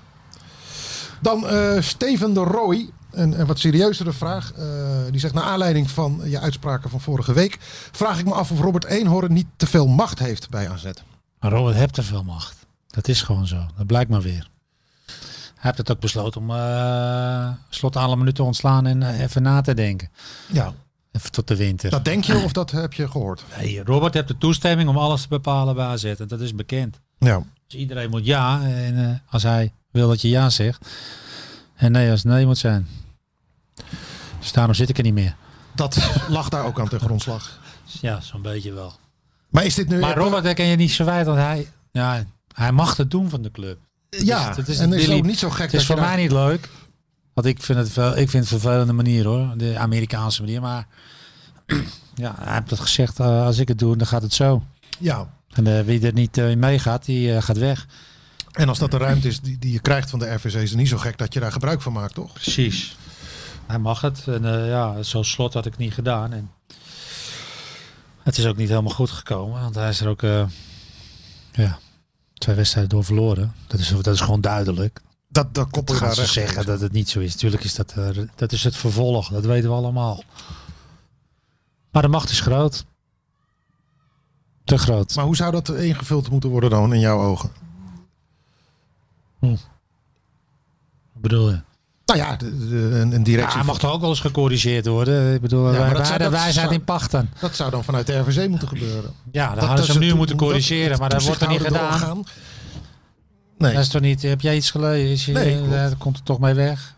Speaker 3: Dan eh, Steven de Rooij, een, een wat serieuzere vraag. Eh, die zegt, naar aanleiding van je uitspraken van vorige week... vraag ik me af of Robert Eenhoorn niet te veel macht heeft bij AZ.
Speaker 4: Maar Robert hebt er veel macht. Dat is gewoon zo. Dat blijkt maar weer. heeft het ook besloten om eh, slot alle minuten te ontslaan en eh, even na te denken.
Speaker 3: Ja.
Speaker 4: Even tot de winter.
Speaker 3: Dat denk je of dat heb je gehoord?
Speaker 4: Nee, Robert heeft de toestemming om alles te bepalen bij AZ. En dat is bekend.
Speaker 3: Ja.
Speaker 4: Dus iedereen moet ja. En eh, als hij wil dat je ja zegt. En nee als het nee moet zijn. Dus daarom zit ik er niet meer.
Speaker 3: Dat lag daar ook aan ten grondslag.
Speaker 4: Ja, zo'n beetje wel.
Speaker 3: Maar is dit nu...
Speaker 4: Maar Robert daar ken je niet zo wijd. Want hij, ja, hij mag het doen van de club.
Speaker 3: Ja,
Speaker 4: het is- het is
Speaker 3: en is
Speaker 4: Billy-
Speaker 3: ook niet zo gek
Speaker 4: Het is
Speaker 3: dat je
Speaker 4: voor
Speaker 3: daar-
Speaker 4: mij niet leuk. Want ik vind het wel, ik vind het een vervelende manier hoor. De Amerikaanse manier. Maar (clears throat) ja, hij heeft het gezegd. eh, als ik het doe, dan gaat het zo.
Speaker 3: Ja.
Speaker 4: En eh, wie er niet eh, in meegaat, die eh, gaat weg.
Speaker 3: En als dat de ruimte is die, die je krijgt van de RVC, is het niet zo gek dat je daar gebruik van maakt, toch?
Speaker 4: Precies. Hij mag het. En eh, ja, zo'n slot had ik niet gedaan. En het is ook niet helemaal goed gekomen. Want hij is er ook eh, ja, twee wedstrijden door verloren. Dat is, dat is gewoon duidelijk.
Speaker 3: Dat, dat koppel je
Speaker 4: Gaan
Speaker 3: daar
Speaker 4: ze
Speaker 3: recht
Speaker 4: zeggen dat het niet zo is. Tuurlijk is dat, eh, dat is het vervolg. Dat weten we allemaal. Maar de macht is groot. Te groot.
Speaker 3: Maar hoe zou dat ingevuld moeten worden dan in jouw ogen?
Speaker 4: Wat bedoel je?
Speaker 3: Nou ja, de, de- een, een
Speaker 4: Ja,
Speaker 3: directie.
Speaker 4: hij mag toch ook wel eens gecorrigeerd worden. Ik bedoel,
Speaker 3: maar
Speaker 4: wij,
Speaker 3: dat
Speaker 4: wij,
Speaker 3: zou-
Speaker 4: wij,
Speaker 3: dat
Speaker 4: zijn
Speaker 3: zou-
Speaker 4: in pachten.
Speaker 3: Dat zou dan vanuit de RVC moeten gebeuren.
Speaker 4: Ja, dan
Speaker 3: Dat-
Speaker 4: hadden ze
Speaker 3: dat
Speaker 4: hem nu
Speaker 3: toe-
Speaker 4: moeten
Speaker 3: dat-
Speaker 4: corrigeren, maar dat wordt er niet
Speaker 3: toezichthouder
Speaker 4: gedaan.
Speaker 3: doorgaan. Nee,
Speaker 4: Dat is toch niet, heb jij iets gelezen? Is je,
Speaker 3: Nee, klopt.
Speaker 4: daar komt er toch mee weg?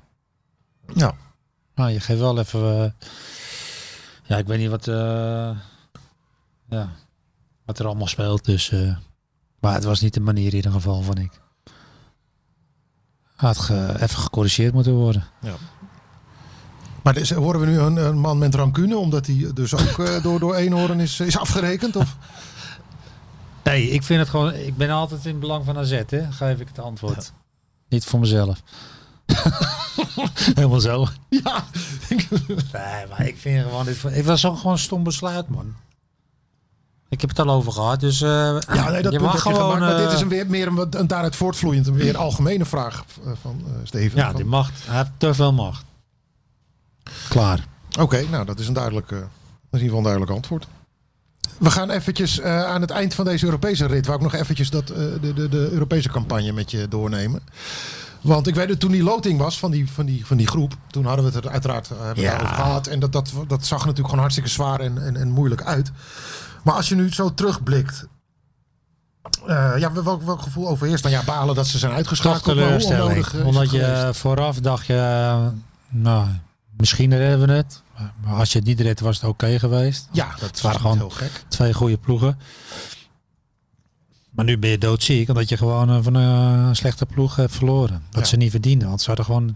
Speaker 3: Ja.
Speaker 4: Nou, je geeft wel even... eh, ja, ik weet niet wat, eh, ja, wat er allemaal speelt. Dus, eh, maar het was niet de manier in ieder geval, van ik. Had ge- even gecorrigeerd moeten worden.
Speaker 3: maar dus, horen we nu een, een man met rancune, omdat hij dus ook eh, door, door eenhoorn is, is afgerekend? Of?
Speaker 4: Nee, ik vind het gewoon... Ik ben altijd in het belang van AZ, hè. Geef ik het antwoord. Niet voor mezelf. (laughs) Helemaal zo.
Speaker 3: Ja,
Speaker 4: Nee, maar ik vind gewoon dit. Het was ook gewoon een stom besluit, man. Ik heb het al over gehad, dus. eh,
Speaker 3: ja nee, dat
Speaker 4: je
Speaker 3: punt
Speaker 4: mag
Speaker 3: heb je
Speaker 4: gewoon.
Speaker 3: gemaakt. Maar dit
Speaker 4: eh,
Speaker 3: is een weer, meer een, wat- een daaruit voortvloeiend, een weer algemene vraag eh, van eh, Steven.
Speaker 4: Ja,
Speaker 3: Van-
Speaker 4: die macht. Hij heeft te veel macht. Klaar.
Speaker 3: Oké, nou dat is een duidelijk, eh, dat is in ieder geval een duidelijk antwoord. We gaan eventjes eh, aan het eind van deze Europese rit, wou ik nog eventjes dat, eh, de, de, de Europese campagne met je doornemen. Want ik weet dat toen die loting was van die, van die, van die groep, toen hadden we het er uiteraard eh, hebben we
Speaker 4: Ja.
Speaker 3: daarover gehad. En dat, dat, dat zag er natuurlijk gewoon hartstikke zwaar en, en, en moeilijk uit. Maar als je nu zo terugblikt, eh, ja, welk, welk gevoel overheerst dan? Ja, balen dat ze zijn
Speaker 4: Toch
Speaker 3: uitgeschakeld. maar hoe
Speaker 4: teleurstelling.
Speaker 3: onnodig, eh, is het
Speaker 4: Omdat je
Speaker 3: geweest?
Speaker 4: vooraf dacht je. eh, Nou, misschien redden we het. Maar als je het niet redt, was het oké geweest.
Speaker 3: Ja, dat
Speaker 4: waren
Speaker 3: waren gewoon
Speaker 4: gewoon-
Speaker 3: heel gek.
Speaker 4: Twee goede ploegen. Maar nu ben je doodziek, omdat je gewoon eh, van eh, een slechte ploeg hebt verloren. Dat
Speaker 3: Ja.
Speaker 4: ze niet verdienden, want ze hadden gewoon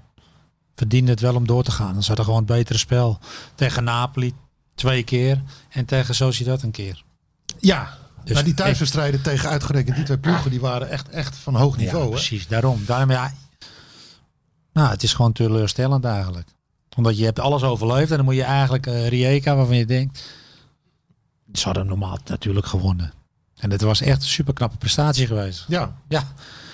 Speaker 4: verdienden het wel om door te gaan. Dan ze hadden gewoon het betere spel. Tegen Napoli twee keer en tegen Sociedad een keer.
Speaker 3: Ja,
Speaker 4: Dus
Speaker 3: maar die
Speaker 4: ik-
Speaker 3: thuiswedstrijden tegen uitgerekend die twee ploegen, die waren echt, echt van hoog niveau.
Speaker 4: ja,
Speaker 3: hè?
Speaker 4: precies. Daarom. Daarom ja. Nou, het is gewoon teleurstellend eigenlijk. Omdat je hebt alles overleefd en dan moet je eigenlijk eh, Rijeka, waarvan je denkt, ze hadden normaal natuurlijk gewonnen. En het was echt een superknappe prestatie geweest.
Speaker 3: Ja,
Speaker 4: Ja,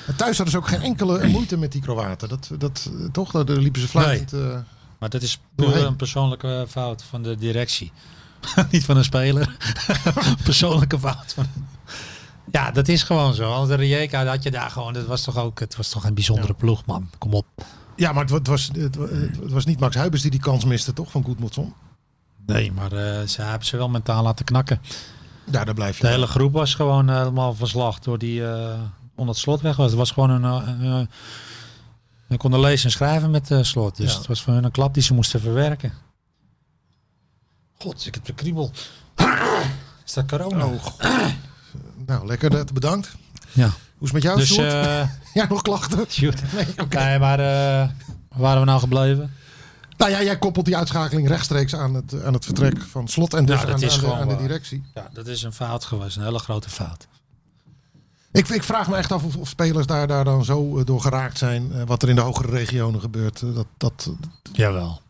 Speaker 3: en thuis hadden ze ook geen enkele moeite met die Kroaten. Dat, dat, eh, toch, daar daar liepen ze fluitend. eh,
Speaker 4: Maar dat is
Speaker 3: Doorheen.
Speaker 4: puur een persoonlijke fout van de directie. (laughs) Niet van een speler. (laughs) persoonlijke fout. Van... Ja, dat is gewoon zo. Want de Rijeka had je daar gewoon. Dat was toch ook. Het was toch een bijzondere ploeg, man. Kom op.
Speaker 3: ja, maar het, wa- het was, het, wa- het was niet Max Huibers die die kans miste, toch, van Goedmotson?
Speaker 4: Nee, maar eh, ze hebben ze wel mentaal laten knakken.
Speaker 3: Ja, daar blijf je.
Speaker 4: De hele groep was gewoon eh, helemaal verslacht door die eh onder het slot weg was. Het was gewoon een. eh, eh, we konden lezen en schrijven met eh, slot. Dus
Speaker 3: Ja.
Speaker 4: het was voor hun een klap die ze moesten verwerken. God, ik heb de kriebel. Is dat corona?
Speaker 3: Oh, god. nou, lekker, dat, bedankt.
Speaker 4: Ja.
Speaker 3: Hoe is het met jou,
Speaker 4: Dus
Speaker 3: Sjoerd?
Speaker 4: eh
Speaker 3: (laughs) Ja, nog klachten?
Speaker 4: shoot.
Speaker 3: (laughs) Nee, oké.
Speaker 4: Nee, maar eh, waar waren we nou gebleven?
Speaker 3: Nou ja, jij koppelt die uitschakeling rechtstreeks aan het, aan het vertrek van slot en dus
Speaker 4: Ja, Nou, dat
Speaker 3: aan,
Speaker 4: is
Speaker 3: aan de,
Speaker 4: gewoon
Speaker 3: aan de
Speaker 4: waar.
Speaker 3: directie.
Speaker 4: Ja, dat is een fout geweest, een hele grote fout.
Speaker 3: Ik, ik vraag me echt af of, of spelers daar, daar dan zo eh, door geraakt zijn. eh, wat er in de hogere regionen gebeurt. eh, dat, dat,
Speaker 4: Jawel.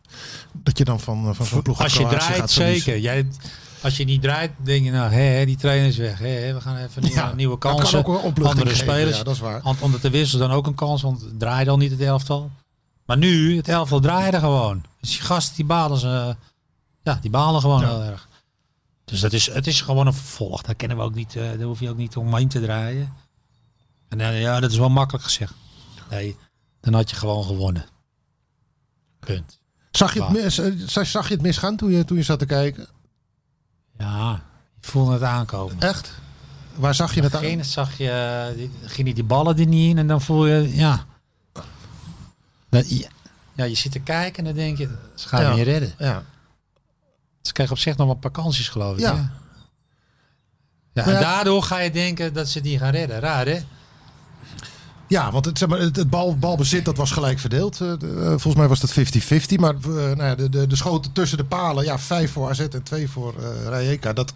Speaker 3: dat je dan van, eh, van zo'n ploeg
Speaker 4: Als je
Speaker 3: Kroatië
Speaker 4: draait,
Speaker 3: gaat verliezen.
Speaker 4: zeker. Jij, als je niet draait, denk je nou, hé, hé, die trainer is weg. Hé, hé, we gaan even een
Speaker 3: Ja,
Speaker 4: (laughs) nieuwe
Speaker 3: Dat kan
Speaker 4: kansen.
Speaker 3: ook wel opluchting
Speaker 4: Andere
Speaker 3: geven,
Speaker 4: spelers.
Speaker 3: Ja, dat is waar.
Speaker 4: Want onder de wissel dan ook een kans, want het draaide al niet het elftal. Maar nu, het elftal draaide gewoon. Dus die gasten die balen ze. Ja, die balen gewoon
Speaker 3: Ja.
Speaker 4: heel erg. Dus dat is, het is gewoon een vervolg. Daar kennen we ook niet. eh, daar hoef je ook niet omheen te draaien. En dan, ja, dat is wel makkelijk gezegd. Nee, dan had je gewoon gewonnen. Punt.
Speaker 3: Zag je het, mis, eh, zag- zag je het misgaan toen je, toen je zat te kijken?
Speaker 4: Ja, ik voelde het aankomen.
Speaker 3: Echt? Waar zag je het aan?
Speaker 4: Geen zag je, die- gingen die ballen er niet in en dan voel je, ja. Dat, ja. Ja, je zit te kijken en dan denk je, ze gaan
Speaker 3: Ja.
Speaker 4: het niet redden.
Speaker 3: Ja.
Speaker 4: Ze krijgen op zich nog wat vakanties, geloof ik.
Speaker 3: Ja.
Speaker 4: hè? Ja. en
Speaker 3: ja.
Speaker 4: daardoor ga je denken dat ze die gaan redden. Raar, hè?
Speaker 3: Ja, want het, zeg maar, het, het bal, balbezit dat was gelijk verdeeld. Eh, de- eh, volgens mij was dat 50-50. Maar eh, nou ja, de, de, de schoten tussen de palen, ja, vijf voor AZ en twee voor eh Rijeka. Dat,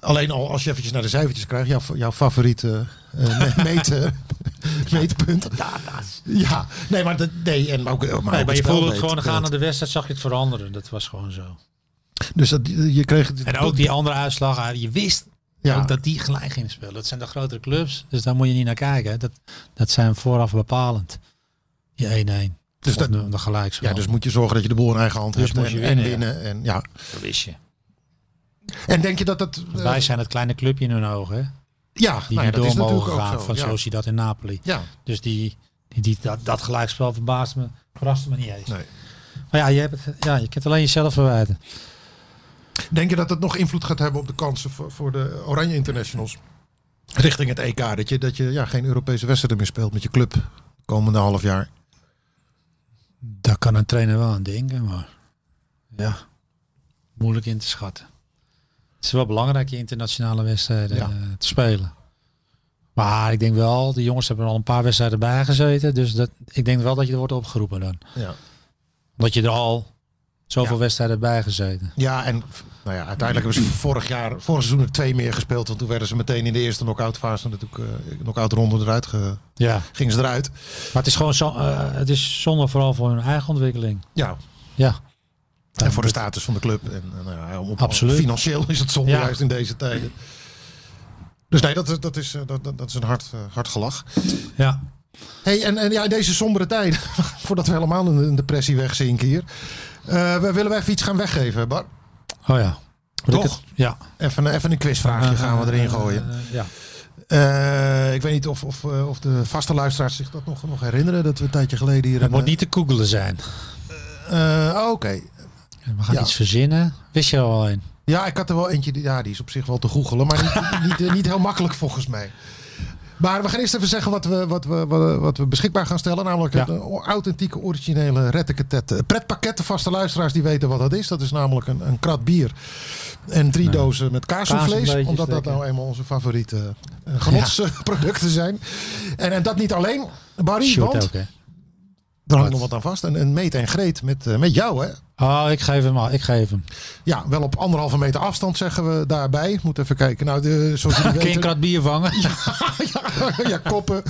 Speaker 3: alleen al als je eventjes naar de cijfertjes krijgt, jouw, jouw favoriete eh, me-
Speaker 4: (laughs)
Speaker 3: meet, eh, meetpunt. Ja, nee, maar, dat, nee, en ook, eh, maar,
Speaker 4: Nee,
Speaker 3: ook
Speaker 4: maar je voelde het
Speaker 3: spelbeeld.
Speaker 4: gewoon gaan naar de wedstrijd, zag je het veranderen. Dat was gewoon zo.
Speaker 3: Dus dat, je kreeg... het-
Speaker 4: En ook die andere uitslag, ah, je wist
Speaker 3: Ja.
Speaker 4: ook dat die gelijk ging spelen. Dat zijn de grotere clubs, dus daar moet je niet naar kijken. hè. Dat, dat zijn vooraf bepalend. Die 1-1.
Speaker 3: Dus
Speaker 4: Dus
Speaker 3: dat-
Speaker 4: dat, de, de gelijkspel.
Speaker 3: Ja, dus moet je zorgen dat je de boel in eigen hand
Speaker 4: Dus
Speaker 3: hebt
Speaker 4: moet je
Speaker 3: en, en
Speaker 4: winnen, ja.
Speaker 3: winnen. En, ja.
Speaker 4: dat wist je.
Speaker 3: en denk je dat dat... eh,
Speaker 4: Wij zijn het kleine clubje in hun ogen, hè?
Speaker 3: ja,
Speaker 4: Die
Speaker 3: nou ja,
Speaker 4: niet
Speaker 3: dat is
Speaker 4: door
Speaker 3: natuurlijk
Speaker 4: mogen
Speaker 3: ook
Speaker 4: gaan
Speaker 3: zo.
Speaker 4: van
Speaker 3: ja.
Speaker 4: Sociedad en Napoli.
Speaker 3: ja,
Speaker 4: Dus die, die, die, dat, dat gelijkspel verbaast me, verraste me niet eens.
Speaker 3: nee.
Speaker 4: Maar ja, je, hebt het, ja, je kunt alleen jezelf verwijten.
Speaker 3: Denk je dat het nog invloed gaat hebben op de kansen voor, voor de Oranje Internationals? Richting het EK, dat je, dat je ja, geen Europese wedstrijden meer speelt met je club komende half jaar.
Speaker 4: Daar kan een trainer wel aan denken, maar ja, moeilijk in te schatten. Het is wel belangrijk in internationale wedstrijden
Speaker 3: Ja.
Speaker 4: eh, te spelen. Maar ik denk wel, de jongens hebben er al een paar wedstrijden bij gezeten. Dus dat, ik denk wel dat je er wordt opgeroepen dan.
Speaker 3: Ja,
Speaker 4: Omdat je er al zoveel
Speaker 3: Ja.
Speaker 4: wedstrijden bij gezeten.
Speaker 3: ja en f- nou ja, uiteindelijk hebben ze vorig jaar, vorig seizoen er twee meer gespeeld. Want toen werden ze meteen in de eerste knock-out fase natuurlijk, eh knock-out ronde eruit, ge-
Speaker 4: Ja.
Speaker 3: gingen ze eruit.
Speaker 4: Maar het is gewoon zo, eh, het is zonde vooral voor hun eigen ontwikkeling.
Speaker 3: Ja,
Speaker 4: Ja.
Speaker 3: en voor de status van de club. En, eh, nou ja, om-
Speaker 4: Absoluut.
Speaker 3: Financieel is het zonde
Speaker 4: Ja.
Speaker 3: juist in deze tijden. Dus nee, dat, is- dat, is, eh, dat, dat- dat is een hard, eh, hard gelach.
Speaker 4: Ja.
Speaker 3: Hey, en, en ja, in deze sombere tijden, (laughs) voordat we helemaal in een depressie wegzinken hier. eh, we willen wij even iets gaan weggeven, Bar.
Speaker 4: Oh ja. Wat ik
Speaker 3: Toch?
Speaker 4: het- ja.
Speaker 3: Even, eh, even een quizvraagje gaan we erin
Speaker 4: Eh,
Speaker 3: gooien.
Speaker 4: eh, ja.
Speaker 3: Eh, ik weet niet of, of, eh, of de vaste luisteraars zich dat nog, nog herinneren. Dat we een tijdje geleden hier...
Speaker 4: Het
Speaker 3: een,
Speaker 4: moet niet te googelen zijn.
Speaker 3: eh, eh, oh, Oké.
Speaker 4: We gaan
Speaker 3: Ja.
Speaker 4: iets verzinnen. Wist je er al een?
Speaker 3: Ja, ik had er wel eentje. die- Ja, die is op zich wel te googelen, maar niet, niet, eh, niet heel makkelijk volgens mij. Maar we gaan eerst even zeggen wat we, wat we, wat we- wat we beschikbaar gaan stellen. Namelijk
Speaker 4: Ja.
Speaker 3: het, eh, authentieke, originele retteketet. Pretpakketten, vaste luisteraars die weten wat dat is. Dat is namelijk een, een krat bier en drie dozen met kaassoufflés.
Speaker 4: Kaasbleetjes
Speaker 3: Omdat dat
Speaker 4: lekker.
Speaker 3: nou eenmaal onze favoriete eh, genotsproducten zijn. En, en dat niet alleen, Barry,
Speaker 4: Shoot
Speaker 3: want
Speaker 4: ook, hè?
Speaker 3: er hangt nog wat aan vast. En, en meet en greet met, eh, met jou, hè?
Speaker 4: Oh, ik geef hem al. Ik geef hem.
Speaker 3: Ja, wel op anderhalve meter afstand zeggen we daarbij. Moet even kijken. Nou, de, zoals
Speaker 4: (laughs)
Speaker 3: jullie
Speaker 4: Kun je een
Speaker 3: weten,
Speaker 4: krat bier vangen?
Speaker 3: (laughs) ja, ja, koppen.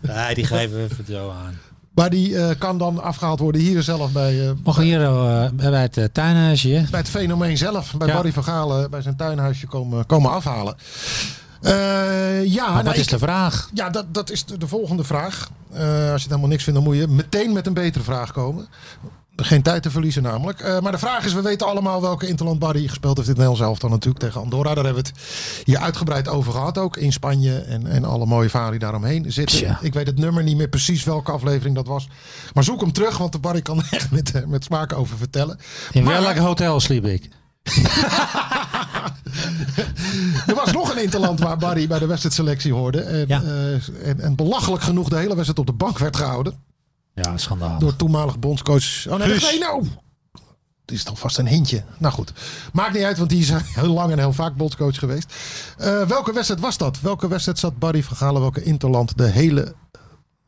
Speaker 4: Nee, die geven we even zo aan.
Speaker 3: Maar die eh, kan dan afgehaald worden hier zelf bij, eh,
Speaker 4: Mag ik hier eh, bij het eh, tuinhuisje? hè?
Speaker 3: bij het fenomeen zelf. Bij
Speaker 4: Ja.
Speaker 3: Barry van Galen, eh, bij zijn tuinhuisje komen, komen afhalen. Eh, ja,
Speaker 4: Maar
Speaker 3: nou,
Speaker 4: wat is
Speaker 3: ik-
Speaker 4: de vraag?
Speaker 3: ja dat, dat is de, de volgende vraag. Eh, als je het helemaal niks vindt, dan moet je meteen met een betere vraag komen. Geen tijd te verliezen namelijk. Eh, maar de vraag is, we weten allemaal welke Interland Barry gespeeld heeft in het Nederlands elftal natuurlijk tegen Andorra. Daar hebben we het hier uitgebreid over gehad ook. In Spanje en, en alle mooie varie daaromheen zitten.
Speaker 4: Tja.
Speaker 3: Ik weet het nummer niet meer precies welke aflevering dat was. Maar zoek hem terug, want de Barry kan (laughs) er echt met, eh, met smaak over vertellen.
Speaker 4: In
Speaker 3: Maar-
Speaker 4: welk hotel sliep ik?
Speaker 3: Er was nog een Interland waar Barry bij de wedstrijdselectie hoorde. En,
Speaker 4: Ja.
Speaker 3: eh, en, en belachelijk genoeg de hele wedstrijd op de bank werd gehouden.
Speaker 4: Ja, schandaal.
Speaker 3: Door toenmalig bondscoach. Oh nee,
Speaker 5: Guus.
Speaker 3: nee, nou. Het is toch vast een hintje. Nou goed, maakt niet uit, want die is (laughs) heel lang en heel vaak bondscoach geweest. Eh, welke wedstrijd was dat? Welke wedstrijd zat Barry van Galen, welke Interland, de hele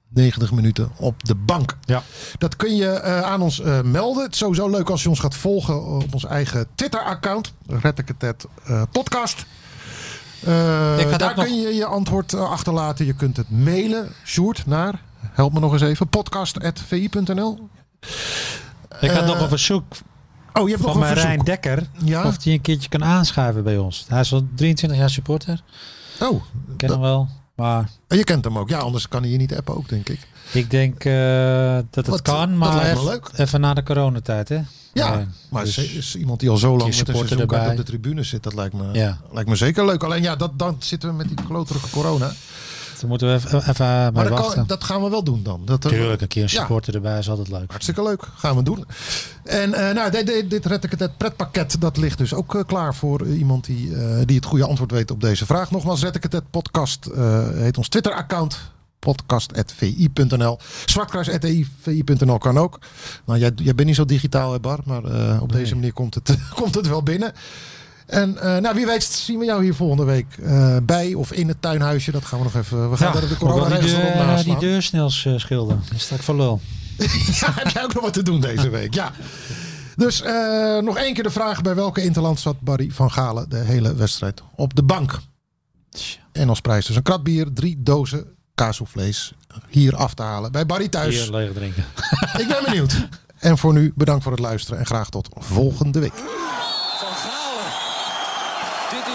Speaker 3: 90 minuten op de bank?
Speaker 4: Ja.
Speaker 3: Dat kun je eh, aan ons eh, melden. Het is sowieso leuk als je ons gaat volgen op ons eigen Twitter-account. Rettekatet eh podcast. Eh,
Speaker 4: Ik had
Speaker 3: daar
Speaker 4: ook nog-
Speaker 3: kun je je antwoord eh, achterlaten. Je kunt het mailen, Sjoerd, naar, help me nog eens even, podcast.vi.nl.
Speaker 4: Ik had
Speaker 3: eh,
Speaker 4: nog een verzoek
Speaker 3: Oh, je hebt nog
Speaker 4: van
Speaker 3: een
Speaker 4: mijn
Speaker 3: verzoek. Ah.
Speaker 4: Rijn Dekker.
Speaker 3: Ja?
Speaker 4: Of die een keertje kan aanschuiven bij ons. Hij is al 23 jaar supporter.
Speaker 3: Oh,
Speaker 4: Ik ken hem wel. Maar
Speaker 3: je kent hem ook. Ja, anders kan hij je niet appen ook, denk ik.
Speaker 4: ik denk eh, dat het
Speaker 3: Wat-
Speaker 4: kan.
Speaker 3: dat
Speaker 4: Maar
Speaker 3: lijkt me
Speaker 4: even,
Speaker 3: leuk.
Speaker 4: even na de coronatijd, hè?
Speaker 3: Ja,
Speaker 4: Rijn.
Speaker 3: maar
Speaker 4: Dus-
Speaker 3: ze is iemand die al zo lang met een
Speaker 4: supporter
Speaker 3: seizoenkaart op
Speaker 4: erbij.
Speaker 3: de tribune zit. Dat lijkt me,
Speaker 4: Ja.
Speaker 3: lijkt me zeker leuk. Alleen ja, dat, dan zitten we met die kloterige corona.
Speaker 4: Daar moeten we even, even bij
Speaker 3: Maar dat,
Speaker 4: wachten.
Speaker 3: kan, dat gaan we wel doen dan. Dat, eh,
Speaker 4: Tuurlijk, een keer een
Speaker 3: Ja.
Speaker 4: supporter erbij is altijd leuk.
Speaker 3: Hartstikke leuk, gaan we doen. En eh, nou, dit, dit, dit red ik het, het pretpakket, dat ligt dus ook eh, klaar voor eh, iemand die, eh, die het goede antwoord weet op deze vraag. Nogmaals, red ik het, het podcast eh, heet ons Twitter-account. Podcast.vi.nl. Zwartkruis.vi.nl kan ook. Nou, jij, jij bent niet zo digitaal, hè Bar, maar eh, op deze manier komt het, (laughs) komt het wel binnen. En eh, nou, wie weet zien we jou hier volgende week eh, bij of in het tuinhuisje. Dat gaan we nog even. We gaan daar de
Speaker 4: ook wel die,
Speaker 3: coronaregels nog op
Speaker 4: deur,
Speaker 3: naslaan.
Speaker 4: die deur snel eh, schilderen. Dat sta ik voor lul.
Speaker 3: (laughs) Ja, heb jij ook nog wat te doen deze week? Ja. Dus eh, nog één keer de vraag: bij welke Interland zat Barry van Galen de hele wedstrijd op de bank? En als prijs dus een krat bier, drie dozen kaasvlees hier af te halen bij Barry thuis.
Speaker 4: Hier leeg drinken.
Speaker 3: Ik ben benieuwd. En voor nu bedankt voor het luisteren en graag tot volgende week.
Speaker 6: Van Galen. Dit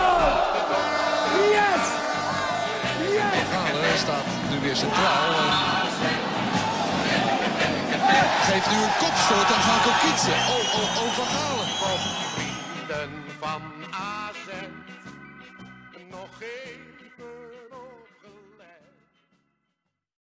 Speaker 1: Yes. Yes.
Speaker 2: Galen staat nu weer centraal. en Geeft nu een kopstoot aan Gakko Kietse. Oh, oh, oh, Van Galen.
Speaker 7: vrienden van AZ nog even.